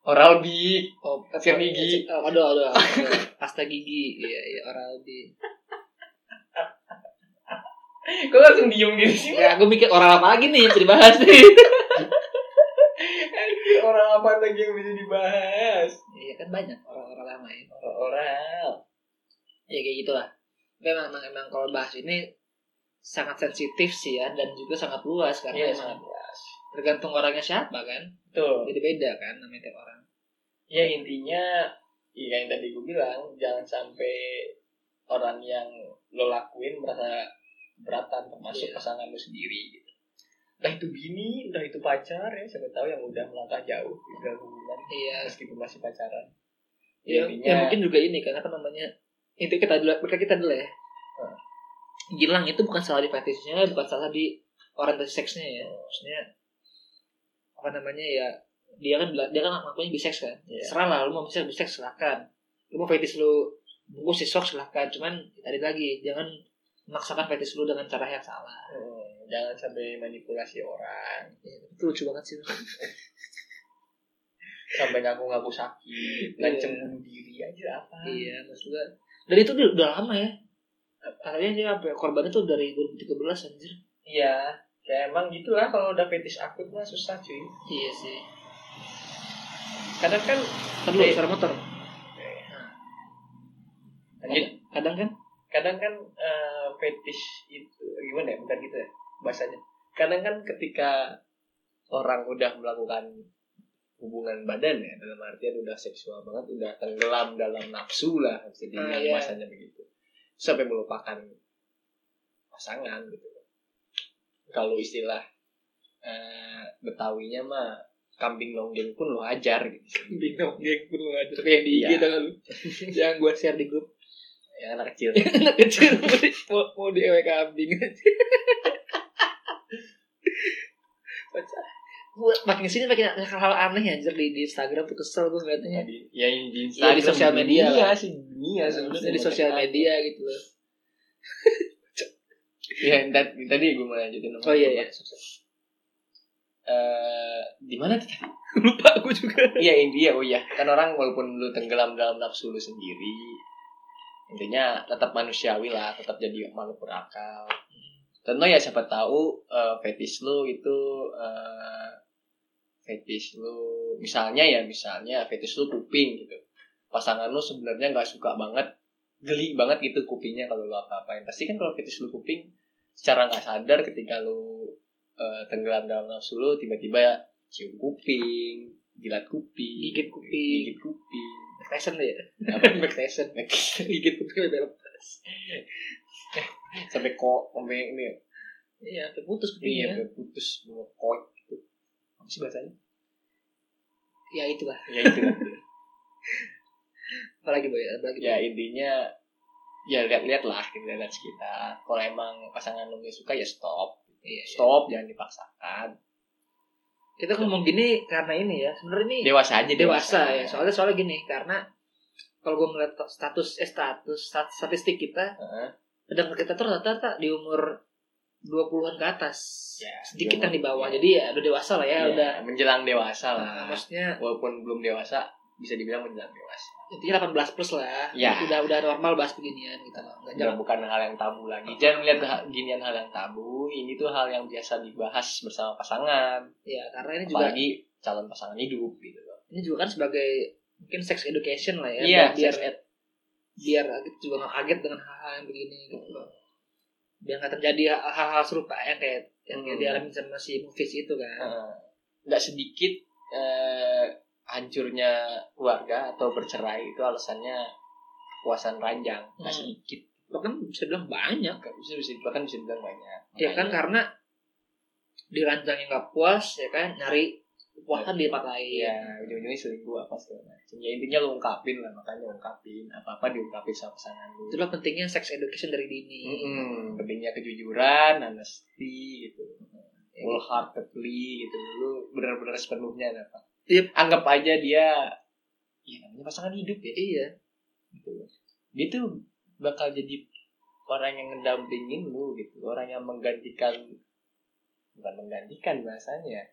[SPEAKER 1] Oral bi.
[SPEAKER 2] Oh,
[SPEAKER 1] Siram gigi.
[SPEAKER 2] Oh, aduh, aduh, aduh. Pasta gigi, iya, iya, oral B.
[SPEAKER 1] Kok langsung diem gitu sih?
[SPEAKER 2] Ya, gue mikir oral apa lagi nih yang bisa dibahas nih.
[SPEAKER 1] Oral apa lagi yang bisa dibahas?
[SPEAKER 2] Iya kan banyak oral-oral lama ya.
[SPEAKER 1] Oral.
[SPEAKER 2] ya kayak gitulah memang emang, emang kalau bahas ini sangat sensitif sih ya dan juga sangat luas karena
[SPEAKER 1] Iya,
[SPEAKER 2] emang
[SPEAKER 1] sangat luas.
[SPEAKER 2] tergantung orangnya siapa kan
[SPEAKER 1] Tuh.
[SPEAKER 2] beda beda kan namanya tiap orang
[SPEAKER 1] ya intinya ya yang tadi gue bilang jangan sampai orang yang lo lakuin merasa beratan termasuk
[SPEAKER 2] Iya.
[SPEAKER 1] pasangan lo sendiri gitu. entah itu bini entah itu pacar ya siapa tahu yang udah melangkah jauh di dalam hubungan
[SPEAKER 2] iya
[SPEAKER 1] meskipun masih pacaran
[SPEAKER 2] ya,
[SPEAKER 1] Intinya-
[SPEAKER 2] ya mungkin juga ini kan apa namanya itu kita dulu mereka kita dulu ya
[SPEAKER 1] Hmm.
[SPEAKER 2] Gilang itu bukan salah di fetishnya bukan salah di orientasi seksnya ya maksudnya apa namanya ya dia kan bila- dia kan ngakunya biseks kan
[SPEAKER 1] Iya.
[SPEAKER 2] serah lah lu mau bisa biseks silahkan lu mau fetish lu bungkus sisok silahkan cuman tadi lagi jangan memaksakan fetish lu dengan cara yang salah
[SPEAKER 1] Hmm, jangan sampai manipulasi orang
[SPEAKER 2] ya, itu lucu banget sih
[SPEAKER 1] sampai ngaku-ngaku sakit
[SPEAKER 2] Iya.
[SPEAKER 1] ngancem bunuh diri aja apa
[SPEAKER 2] iya maksud gua dan itu udah, udah lama ya katanya dia apa ya, korbannya tuh dari 2013 anjir
[SPEAKER 1] iya ya emang gitulah kalau udah fetish akut mah susah cuy
[SPEAKER 2] iya sih
[SPEAKER 1] kadang kan
[SPEAKER 2] Ntar
[SPEAKER 4] Iya.
[SPEAKER 2] dulu, suara motor.
[SPEAKER 1] lanjut
[SPEAKER 2] Kadang kan
[SPEAKER 1] kadang kan eh, fetish itu gimana ya bukan gitu ya bahasanya kadang kan ketika orang udah melakukan hubungan badan ya dalam artian udah seksual banget udah tenggelam dalam nafsu lah bisa dibilang
[SPEAKER 2] Ah, iya.
[SPEAKER 1] bahasanya begitu sampai melupakan pasangan gitu kalau istilah eh, betawinya mah kambing nonggeng pun lo ajar gitu
[SPEAKER 4] Kambing nonggeng pun lo aja. Tapi yang di IG
[SPEAKER 1] Iya.
[SPEAKER 4] tau gak lu. yang gue share di grup.
[SPEAKER 1] ya anak kecil
[SPEAKER 4] Anak kecil mau di- mau, mau di E ewe kambing.
[SPEAKER 2] Gue makin sini makin hal-hal aneh ya, anjir di, di Instagram tuh kesel gue ngeliatnya.
[SPEAKER 1] Jadi, ya di,
[SPEAKER 2] Ya, di sosial media
[SPEAKER 1] iya
[SPEAKER 2] lah.
[SPEAKER 1] sih dunia sebenarnya
[SPEAKER 2] Maksudnya di sosial media gitu loh.
[SPEAKER 1] ya ntar- tadi gue mau lanjutin
[SPEAKER 2] Oh iya ya.
[SPEAKER 1] Eh, di mana tuh tadi?
[SPEAKER 4] Lupa gue juga.
[SPEAKER 1] Iya India, oh iya. Kan orang walaupun lu tenggelam dalam nafsu lu sendiri, intinya tetap manusiawi lah, tetap jadi makhluk berakal. Tentu ya siapa tahu eh, fetish lu itu eh, fetish lu misalnya ya misalnya fetish lu kuping gitu. Pasangan lu sebenarnya nggak suka banget, geli banget gitu kupingnya kalau lu apa-apain. Pasti kan kalau fetish lu kuping secara nggak sadar ketika lu eh, tenggelam dalam nafsu lu tiba-tiba cium kuping, jilat kuping
[SPEAKER 2] Gigit kuping.
[SPEAKER 1] gigit kuping
[SPEAKER 2] Fashion tuh ya. Fashion.
[SPEAKER 4] Gigit kuping udah lepas.
[SPEAKER 1] sampai kok sampai ini
[SPEAKER 2] Iya, sampai putus
[SPEAKER 1] ini
[SPEAKER 2] kupingnya.
[SPEAKER 1] ya putus mau koik gitu apa sih bahasanya
[SPEAKER 2] Ya itulah.
[SPEAKER 1] ya itu
[SPEAKER 2] Apalagi boy, apalagi.
[SPEAKER 1] ya intinya ya lihat-lihat lah kita lihat sekitar kalau emang pasangan lu nggak suka ya stop
[SPEAKER 2] Iya, iya.
[SPEAKER 1] stop jangan dipaksakan
[SPEAKER 2] Kita ngomong gini karena ini ya. Sebenarnya ini
[SPEAKER 1] dewasa aja
[SPEAKER 2] dewasa ya. Soalnya soalnya gini karena kalau gue ngeliat status eh status stat- statistik kita
[SPEAKER 1] Heeh.
[SPEAKER 2] pendengar kita tuh rata-rata di umur 20-an ke atas
[SPEAKER 1] Ya,
[SPEAKER 2] sedikit
[SPEAKER 1] di
[SPEAKER 2] yang di
[SPEAKER 1] umur-
[SPEAKER 2] bawah
[SPEAKER 1] ya.
[SPEAKER 2] jadi ya udah dewasa lah ya,
[SPEAKER 1] Ya, Ah.
[SPEAKER 2] udah
[SPEAKER 1] menjelang dewasa
[SPEAKER 2] Nah,
[SPEAKER 1] lah
[SPEAKER 2] maksudnya
[SPEAKER 1] walaupun belum dewasa bisa dibilang menjelang dewasa
[SPEAKER 2] intinya 18 plus lah
[SPEAKER 1] Ya.
[SPEAKER 2] udah udah normal bahas beginian gitu loh Nggak
[SPEAKER 1] Udah
[SPEAKER 2] jangan
[SPEAKER 1] bukan hal yang tabu lagi jangan melihat ha- ginian hal yang tabu ini tuh hal yang biasa dibahas bersama pasangan
[SPEAKER 2] ya karena ini juga
[SPEAKER 1] apalagi calon pasangan hidup gitu loh.
[SPEAKER 2] ini juga kan sebagai mungkin sex education lah ya
[SPEAKER 1] Iya,
[SPEAKER 2] biar biar,
[SPEAKER 1] sex
[SPEAKER 2] biar Agit juga nggak kaget dengan hal-hal yang begini gitu loh biar nggak terjadi hal-hal serupa yang kayak yang
[SPEAKER 1] Hmm.
[SPEAKER 2] dialami sama si movies itu kan
[SPEAKER 1] Eh, nggak sedikit eh, hancurnya keluarga atau bercerai itu alasannya kekuasaan ranjang nggak
[SPEAKER 2] Hmm.
[SPEAKER 1] sedikit
[SPEAKER 2] bahkan bisa bilang banyak
[SPEAKER 1] nggak bisa bisa bahkan bisa dibilang banyak
[SPEAKER 2] ya
[SPEAKER 1] Makanya-
[SPEAKER 2] kan karena di ranjang yang nggak puas ya kan nyari kepuasan di tempat lain
[SPEAKER 1] Iya, ujung-ujungnya selingkuh apa segala macam. Ya intinya lu ungkapin lah, makanya ungkapin apa-apa diungkapin sama pasangan lu.
[SPEAKER 2] itulah pentingnya sex education dari dini
[SPEAKER 1] Mm-mm, pentingnya kejujuran, honesty gitu. Wholeheartedly gitu. Lu benar-benar sepenuhnya ada apa.
[SPEAKER 2] Yep.
[SPEAKER 1] Anggap aja dia ya namanya pasangan hidup ya.
[SPEAKER 2] iya
[SPEAKER 1] Gitu. Dia tuh bakal jadi orang yang ngedampingin lu gitu, orang yang menggantikan bukan menggantikan bahasanya.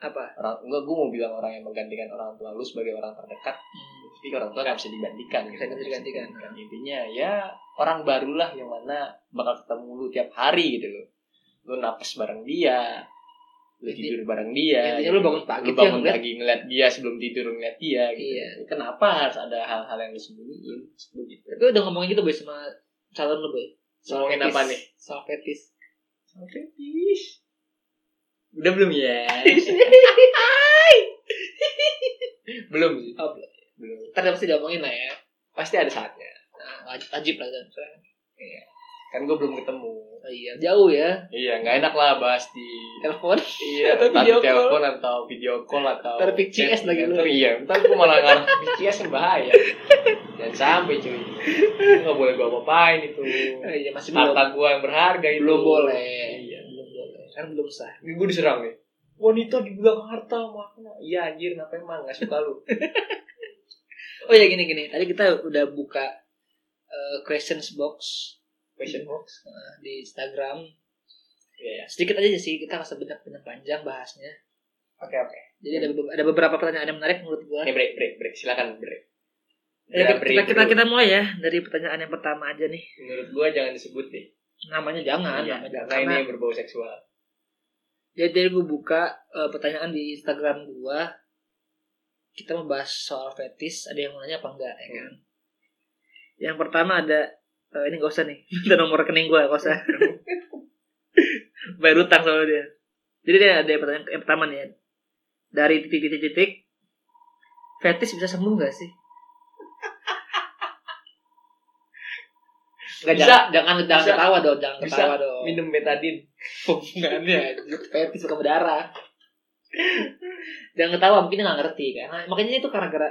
[SPEAKER 2] apa
[SPEAKER 1] Orang gua gua mau bilang orang yang menggantikan orang tua lu sebagai orang terdekat tapi orang tua nggak bisa digantikan
[SPEAKER 2] Iya. Nggak bisa digantikan.
[SPEAKER 1] intinya ya orang barulah yang mana bakal ketemu lu tiap hari gitu loh lu napas bareng dia lu
[SPEAKER 2] Inti-
[SPEAKER 1] tidur bareng dia gitu.
[SPEAKER 2] intinya lu bangun pagi
[SPEAKER 1] lu
[SPEAKER 2] tuh yang
[SPEAKER 1] bangun
[SPEAKER 2] ngeliat.
[SPEAKER 1] pagi ngeliat dia sebelum tidur ngeliat dia gitu
[SPEAKER 2] iya
[SPEAKER 1] kenapa harus ada hal-hal yang disembunyiin begitu
[SPEAKER 2] tapi udah ngomongin gitu boy sama calon lu boy
[SPEAKER 1] Ngomongin
[SPEAKER 2] fetis.
[SPEAKER 1] apa nih?
[SPEAKER 2] soal fetis
[SPEAKER 1] fetish udah belum ya belum sih
[SPEAKER 2] Oh, belum.
[SPEAKER 1] belum
[SPEAKER 2] ntar dia pasti diomongin lah ya
[SPEAKER 1] pasti ada saatnya
[SPEAKER 2] nah, wajib, wajib lah kan
[SPEAKER 1] kan gue belum ketemu
[SPEAKER 2] oh, iya jauh ya
[SPEAKER 1] Iya, nggak enak lah bahas di
[SPEAKER 2] telepon
[SPEAKER 1] Iya,
[SPEAKER 4] Atau
[SPEAKER 1] entah
[SPEAKER 4] video
[SPEAKER 1] di telepon atau video call atau
[SPEAKER 2] Ntar PCS lagi lu.
[SPEAKER 1] Ntar Iya, ntar gue malah ngarang PCS yang bahaya. Jangan sampai cuy. Itu Nggak boleh gue apa-apain itu.
[SPEAKER 2] oh, iya masih belum
[SPEAKER 1] Harta gue yang berharga itu.
[SPEAKER 2] belum boleh
[SPEAKER 1] Iya.
[SPEAKER 2] belum boleh kan belum sah
[SPEAKER 1] Ini gue diserang nih. Wanita dibilang harta makna. Iya anjir, kenapa emang nggak suka lu?
[SPEAKER 2] oh ya gini gini tadi kita udah buka eh, questions box
[SPEAKER 1] Question box.
[SPEAKER 2] eh, di Instagram
[SPEAKER 1] Iya. ya.
[SPEAKER 2] sedikit aja sih kita nggak sebanyak banyak panjang bahasnya
[SPEAKER 1] Oke oke.
[SPEAKER 2] jadi ada, be- ada beberapa pertanyaan yang menarik menurut gua
[SPEAKER 1] Oke break break break. Silakan break.
[SPEAKER 2] Ya,
[SPEAKER 1] Udah
[SPEAKER 2] kita, kita, kita,
[SPEAKER 1] Iya, dulu.
[SPEAKER 2] kita mulai ya dari pertanyaan yang pertama aja nih
[SPEAKER 1] Menurut gue jangan disebut deh.
[SPEAKER 2] namanya jangan
[SPEAKER 1] Iya,
[SPEAKER 2] namanya jangan.
[SPEAKER 1] karena ini berbau seksual.
[SPEAKER 2] Ya, Jadi dari gue buka eh, pertanyaan di Instagram gue, kita membahas soal fetis, ada yang mau nanya apa enggak, ya kan? Yang pertama ada, eh, ini gak usah nih, ada nomor rekening gue, gak usah. Bayar utang soalnya dia. Jadi dia ada pertanyaan yang pertama nih, ya. dari titik-titik-titik, fetis bisa sembuh gak sih? Nggak,
[SPEAKER 1] Bisa.
[SPEAKER 2] jangan, jangan, jangan
[SPEAKER 1] Bisa.
[SPEAKER 2] ketawa dong, jangan
[SPEAKER 1] Bisa.
[SPEAKER 2] ketawa dong.
[SPEAKER 1] minum betadin
[SPEAKER 4] Hubungannya aja.
[SPEAKER 2] Fetis suka berdarah. jangan ketawa, mungkin nggak ngerti karena makanya itu karena gara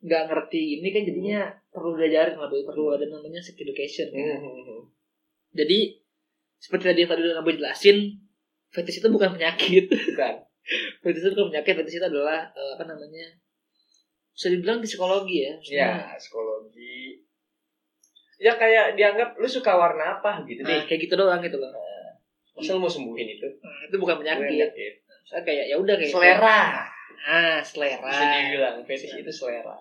[SPEAKER 2] nggak ngerti ini kan jadinya perlu diajarin lah, Boy. perlu ada namanya sex education.
[SPEAKER 1] Hmm,
[SPEAKER 2] kan? Jadi seperti tadi yang tadi udah Boy jelasin, fetis itu bukan penyakit.
[SPEAKER 1] Bukan.
[SPEAKER 2] fetis itu bukan penyakit, fetis itu adalah eh, apa namanya? Bisa dibilang psikologi ya. maksudnya.
[SPEAKER 1] ya psikologi ya kayak dianggap lu suka warna apa gitu
[SPEAKER 2] Nah,
[SPEAKER 1] deh
[SPEAKER 2] kayak gitu doang gitu loh.
[SPEAKER 1] masa lu mau sembuhin itu
[SPEAKER 2] Nah, itu bukan penyakit.
[SPEAKER 1] Penyakit.
[SPEAKER 2] Saya kayak ya udah kayak
[SPEAKER 1] selera
[SPEAKER 2] Ah,
[SPEAKER 1] bisa
[SPEAKER 2] selera. Nah.
[SPEAKER 1] dibilang fetish itu selera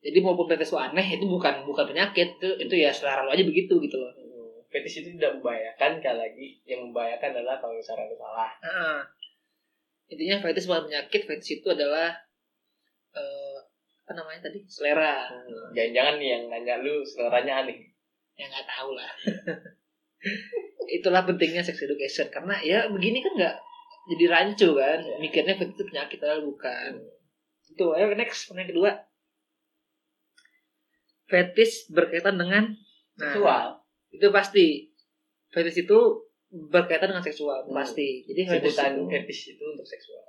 [SPEAKER 2] Jadi maupun fetish lu aneh itu bukan bukan penyakit itu itu ya selera lu aja begitu gitu loh.
[SPEAKER 1] Hmm. fetish itu tidak membahayakan sekali lagi yang membahayakan adalah kalau misalnya lu salah
[SPEAKER 2] Heeh. Intinya fetish bukan penyakit, fetish itu adalah eh apa namanya tadi? Selera.
[SPEAKER 1] jangan-jangan nih yang nanya lu seleranya aneh
[SPEAKER 2] Ya nggak tahu lah. Itulah pentingnya sex education karena ya begini kan nggak jadi rancu kan mikirnya fetish itu penyakit padahal bukan. Itu ayo next yang kedua. Fetish berkaitan dengan nah,
[SPEAKER 1] seksual
[SPEAKER 2] itu pasti fetish itu berkaitan dengan seksual
[SPEAKER 1] Hmm.
[SPEAKER 2] pasti jadi fetish
[SPEAKER 1] sebutan
[SPEAKER 2] itu
[SPEAKER 1] fetish itu untuk seksual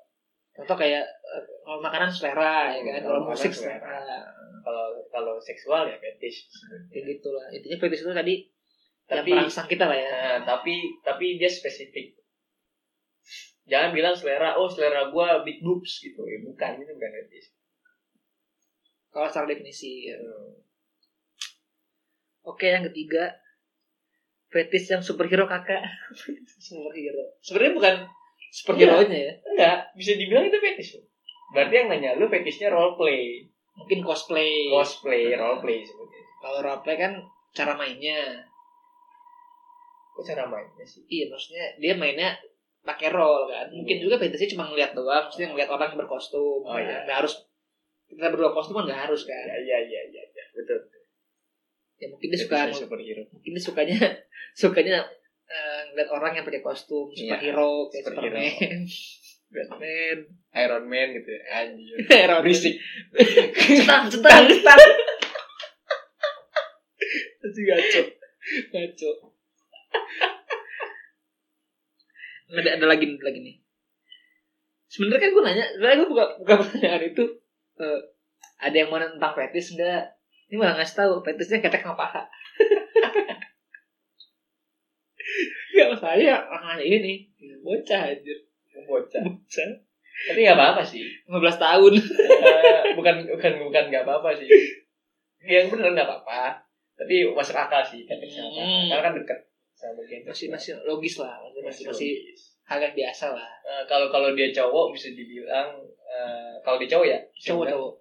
[SPEAKER 2] contoh kayak eh, kalau makanan selera ya
[SPEAKER 1] Hmm,
[SPEAKER 2] kan
[SPEAKER 1] kalau
[SPEAKER 2] kalau
[SPEAKER 1] makanan
[SPEAKER 2] musik
[SPEAKER 1] selera.
[SPEAKER 2] selera
[SPEAKER 1] kalau kalau seksual ya fetish
[SPEAKER 2] kayak gitulah intinya fetish itu tadi yang
[SPEAKER 1] tapi
[SPEAKER 2] merangsang kita lah ya
[SPEAKER 1] Nah, tapi tapi dia spesifik. Jangan bilang selera, oh selera gua big boobs gitu. Ya, bukan, itu bukan fetish.
[SPEAKER 2] kalau secara definisi ya.
[SPEAKER 1] Hmm.
[SPEAKER 2] oke yang ketiga fetish yang superhero kakak superhero sebenarnya bukan superhero nya ya
[SPEAKER 1] Enggak, bisa dibilang itu fetish. Berarti yang nanya lu fetishnya role play.
[SPEAKER 2] mungkin cosplay
[SPEAKER 1] Cosplay, role play sebetulnya.
[SPEAKER 2] kalau roleplay kan cara mainnya
[SPEAKER 1] Kok cara mainnya sih?
[SPEAKER 2] iya maksudnya dia mainnya pakai role kan mungkin juga fetishnya cuma ngeliat doang maksudnya ngeliat orang
[SPEAKER 1] Hmm.
[SPEAKER 2] berkostum
[SPEAKER 1] Oh,
[SPEAKER 2] kan.
[SPEAKER 1] iya.
[SPEAKER 2] nggak harus kita berdua kostum kan nggak harus kan
[SPEAKER 1] Ya, ya, ya, ya, ya. Betul.
[SPEAKER 2] ya mungkin dia suka
[SPEAKER 1] Fetishnya superhero.
[SPEAKER 2] mungkin dia sukanya sukanya eh, ngeliat orang yang pakai kostum
[SPEAKER 1] Iya,
[SPEAKER 2] superhero kayak
[SPEAKER 1] superhero.
[SPEAKER 2] Superman Batman
[SPEAKER 1] Iron Man gitu ya. Anjir.
[SPEAKER 2] Iron Man.
[SPEAKER 1] Berisik.
[SPEAKER 2] centang centang centang
[SPEAKER 4] Itu gaco. Gaco.
[SPEAKER 2] ada ada lagi ada lagi nih sebenarnya kan gue nanya sebenarnya gue buka buka pertanyaan itu eh, ada yang mana tentang fetis enggak ini malah ngasih tahu fetisnya ketek sama paha Gak masalah orang ini nih Bocah anjir
[SPEAKER 1] Bocah.
[SPEAKER 2] Bocah
[SPEAKER 1] Tapi nggak apa-apa sih.
[SPEAKER 2] 15 tahun
[SPEAKER 1] Eh, bukan bukan bukan nggak apa-apa sih. Yang bener nggak apa-apa. Tapi masuk akal sih. Kan,
[SPEAKER 2] Hmm.
[SPEAKER 1] Karena kan deket sama bagian
[SPEAKER 2] Masih
[SPEAKER 1] seksual.
[SPEAKER 2] masih logis lah Masih, masih, masih
[SPEAKER 1] logis.
[SPEAKER 2] agak biasa lah
[SPEAKER 1] Eh, kalau kalau dia cowok bisa dibilang eh, kalau dia cowok ya bisa
[SPEAKER 2] Cowok
[SPEAKER 1] dibilang-
[SPEAKER 2] cowok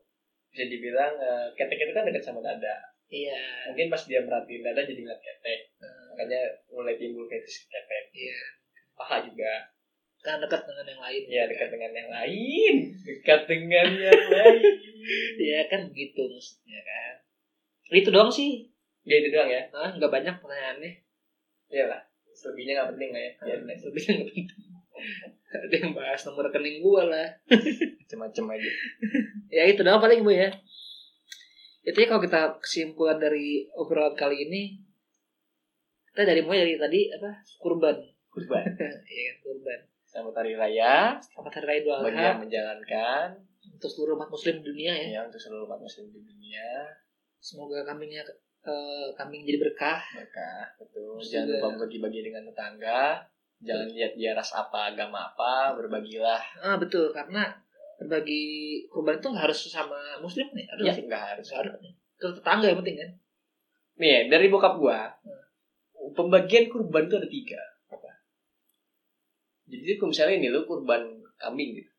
[SPEAKER 1] bisa dibilang eh, ketek itu kan dekat sama dada
[SPEAKER 2] Iya
[SPEAKER 1] mungkin pas dia merhatiin dada jadi ngeliat ketek Eh, makanya mulai timbul fetish ke ketek
[SPEAKER 2] Iya.
[SPEAKER 1] paha juga
[SPEAKER 2] Karena kan dekat dengan yang lain
[SPEAKER 1] ya dekat dengan yang lain dekat dengan yang lain
[SPEAKER 2] Iya kan begitu maksudnya kan Itu doang sih
[SPEAKER 1] ya itu doang ya
[SPEAKER 2] Nah, nggak banyak pertanyaannya
[SPEAKER 1] iyalah selebihnya nggak penting lah ya
[SPEAKER 2] Hmm.
[SPEAKER 1] biar next
[SPEAKER 2] Lebih nggak penting Ada yang bahas nomor rekening gua lah
[SPEAKER 1] macam-macam aja
[SPEAKER 2] Ya itu doang paling bu ya Itu ya, kalau kita kesimpulan dari obrolan kali ini Kita dari mulai dari tadi apa Kurban
[SPEAKER 1] kurban
[SPEAKER 2] Iya kan kurban
[SPEAKER 1] sama tari raya
[SPEAKER 2] Selamat Hari Raya Idul
[SPEAKER 1] bagi
[SPEAKER 2] Adha
[SPEAKER 1] yang menjalankan
[SPEAKER 2] Untuk seluruh umat muslim di dunia ya
[SPEAKER 1] ya untuk seluruh umat muslim di dunia
[SPEAKER 2] Semoga kambingnya eh, kambing jadi berkah.
[SPEAKER 1] maka betul
[SPEAKER 2] Terus
[SPEAKER 1] jangan
[SPEAKER 2] juga-
[SPEAKER 1] lupa berbagi-bagi dengan tetangga jangan lihat dia ras apa agama apa berbagilah
[SPEAKER 2] Ah betul karena bagi kurban itu nggak harus sama muslim nih, harus
[SPEAKER 1] ya
[SPEAKER 2] sih.
[SPEAKER 1] nggak harus
[SPEAKER 2] Nggak harus nih. Ke tetangga yang penting kan.
[SPEAKER 1] nih ya, dari bokap gua pembagian kurban itu ada tiga jadi kalau misalnya ini lu kurban kambing gitu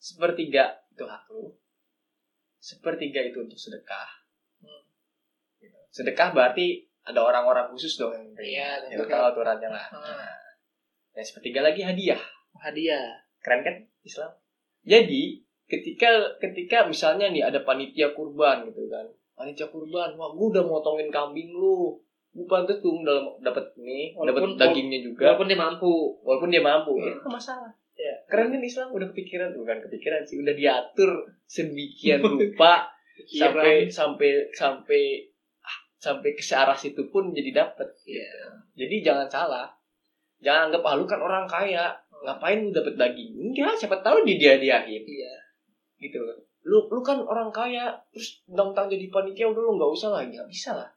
[SPEAKER 1] sepertiga itu hak lu sepertiga itu untuk sedekah Gitu. sedekah berarti ada orang-orang khusus dong yang nerima.
[SPEAKER 2] Iya,
[SPEAKER 1] ya, lu
[SPEAKER 2] tentu
[SPEAKER 1] tahu
[SPEAKER 2] kan.
[SPEAKER 1] aturannya lah
[SPEAKER 2] Ah,
[SPEAKER 1] yang sepertiga lagi hadiah
[SPEAKER 2] hadiah.
[SPEAKER 1] keren kan Islam. Jadi ketika ketika misalnya nih ada panitia kurban gitu kan, panitia kurban, wah gua udah motongin kambing lu, gua pantes tuh dalam dapat nih, dapat
[SPEAKER 2] Walaupun-
[SPEAKER 1] dagingnya juga,
[SPEAKER 2] Walaupun dia mampu.
[SPEAKER 1] walaupun dia mampu.
[SPEAKER 2] Hmm.
[SPEAKER 1] Itu nggak masalah. Ya, keren kan Islam udah kepikiran bukan kepikiran sih, udah
[SPEAKER 2] Iya,
[SPEAKER 1] diatur sedemikian rupa sampai sampai sampai ah, sampai ke arah situ pun jadi dapet gitu. jadi jangan salah jangan anggap ah lu kan orang kaya ngapain lu dapet daging enggak siapa tahu dia diadiahin
[SPEAKER 2] Iya.
[SPEAKER 1] gitu loh. lu lu kan orang kaya terus tentang jadi panitia udah lu nggak usah lah nggak bisa lah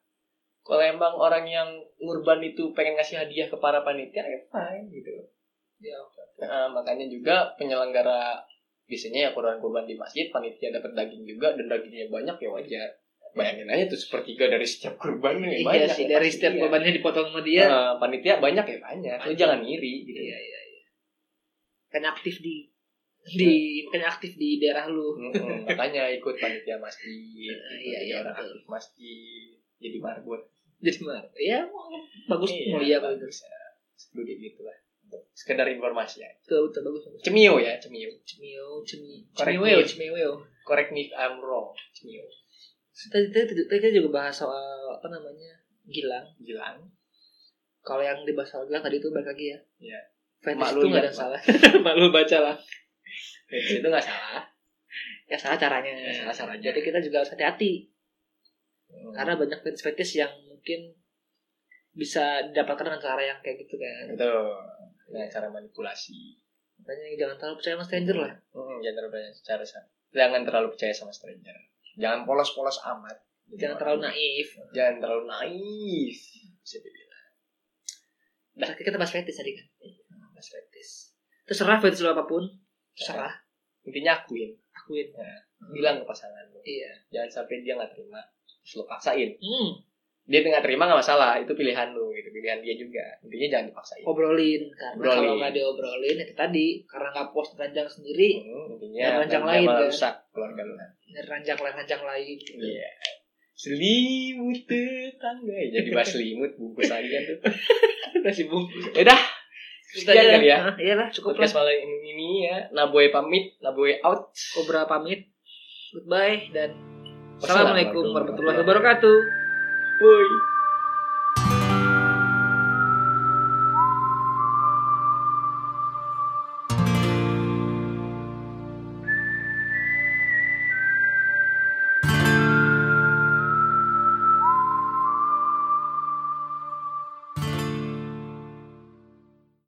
[SPEAKER 1] kalau emang orang yang ngurban itu pengen ngasih hadiah ke para panitia ya fine gitu loh.
[SPEAKER 2] Ya,
[SPEAKER 1] Nah, makanya juga penyelenggara biasanya ya kurban-kurban di masjid panitia dapat daging juga dan dagingnya banyak ya wajar bayangin aja tuh sepertiga dari setiap kurban yang
[SPEAKER 2] Iya
[SPEAKER 1] banyak
[SPEAKER 2] sih
[SPEAKER 1] ya,
[SPEAKER 2] dari
[SPEAKER 1] pasti
[SPEAKER 2] setiap
[SPEAKER 1] ya.
[SPEAKER 2] bebannya dipotong sama dia.
[SPEAKER 1] Eh, panitia banyak ya banyak lu
[SPEAKER 2] Banyak.
[SPEAKER 1] jangan iri gitu
[SPEAKER 2] Iya iya iya. Kan aktif di di kan aktif di daerah lu.
[SPEAKER 1] Mm-mm, makanya ikut panitia masjid
[SPEAKER 2] Nah,
[SPEAKER 1] ikut
[SPEAKER 2] iya,
[SPEAKER 1] jadi
[SPEAKER 2] iya,
[SPEAKER 1] orang
[SPEAKER 2] betul.
[SPEAKER 1] aktif masjid jadi marbot
[SPEAKER 2] Jadi mah ya bagus mau
[SPEAKER 1] iya
[SPEAKER 2] iya bagus.
[SPEAKER 1] bagus ya. Seperti gitu lah sekedar informasi aja
[SPEAKER 2] Betul betul bagus. bagus.
[SPEAKER 1] cemio ya cemio
[SPEAKER 2] Cemio, cemi,
[SPEAKER 1] Korek
[SPEAKER 2] cemiweo,
[SPEAKER 1] mie.
[SPEAKER 2] cemiweo.
[SPEAKER 1] correct me if I'm wrong cemio
[SPEAKER 2] Tadi tadi tadi kita juga bahas soal apa namanya gilang.
[SPEAKER 1] Gilang
[SPEAKER 2] Kalau yang dibahas soal gilang tadi itu balik lagi ya.
[SPEAKER 1] Iya. Mak
[SPEAKER 2] Fetish
[SPEAKER 1] lu
[SPEAKER 2] itu nggak
[SPEAKER 1] lihat,
[SPEAKER 2] ada salah. Mak lu baca lah.
[SPEAKER 1] itu nggak salah
[SPEAKER 2] Ya salah caranya.
[SPEAKER 1] Ya, salah caranya.
[SPEAKER 2] Jadi kita juga harus hati-hati.
[SPEAKER 1] Hmm.
[SPEAKER 2] karena banyak fetish fetish yang mungkin bisa didapatkan dengan cara yang kayak gitu kan
[SPEAKER 1] itu nah, cara manipulasi
[SPEAKER 2] makanya jangan terlalu percaya sama stranger lah
[SPEAKER 1] Mm, jangan terlalu percaya secara jangan terlalu percaya sama stranger jangan polos-polos amat Jadi
[SPEAKER 2] jangan
[SPEAKER 1] orang-
[SPEAKER 2] terlalu naif
[SPEAKER 1] jangan terlalu naif bisa dibilang
[SPEAKER 2] nah kita bahas fetish tadi kan
[SPEAKER 1] Hmm,
[SPEAKER 2] bahas fetish terserah fetish lo apapun terserah
[SPEAKER 1] intinya akuin
[SPEAKER 2] akuin Hmm.
[SPEAKER 1] bilang ke pasangan lu.
[SPEAKER 2] iya
[SPEAKER 1] jangan sampai dia nggak terima terus lo paksain
[SPEAKER 2] hmm.
[SPEAKER 1] dia nggak terima nggak masalah itu pilihan lu gitu pilihan dia juga intinya jangan dipaksain
[SPEAKER 2] Oh, obrolin karena
[SPEAKER 1] Obrolin.
[SPEAKER 2] kalau nggak diobrolin ya itu tadi karena nggak puas ranjang sendiri
[SPEAKER 1] Hmm,
[SPEAKER 2] Jangan
[SPEAKER 1] intinya
[SPEAKER 2] rancang
[SPEAKER 1] jangan
[SPEAKER 2] lain,
[SPEAKER 1] malah
[SPEAKER 2] kan?
[SPEAKER 1] rusak keluarga lu
[SPEAKER 2] dari ranjang lain ranjang lain gitu.
[SPEAKER 1] iya selimut tetangga Ya, jadi bahas selimut bungkus lagi kan tuh
[SPEAKER 2] masih bungkus
[SPEAKER 1] Yaudah, sekian kali ya.
[SPEAKER 2] Hah, iyalah cukup lah
[SPEAKER 1] podcast malam ini ya Naboy pamit Naboy out
[SPEAKER 2] Kobra pamit goodbye dan
[SPEAKER 1] Wassalamualaikum
[SPEAKER 2] assalamualaikum warahmatullahi
[SPEAKER 1] warahmatullahi
[SPEAKER 2] wabarakatuh
[SPEAKER 1] Boy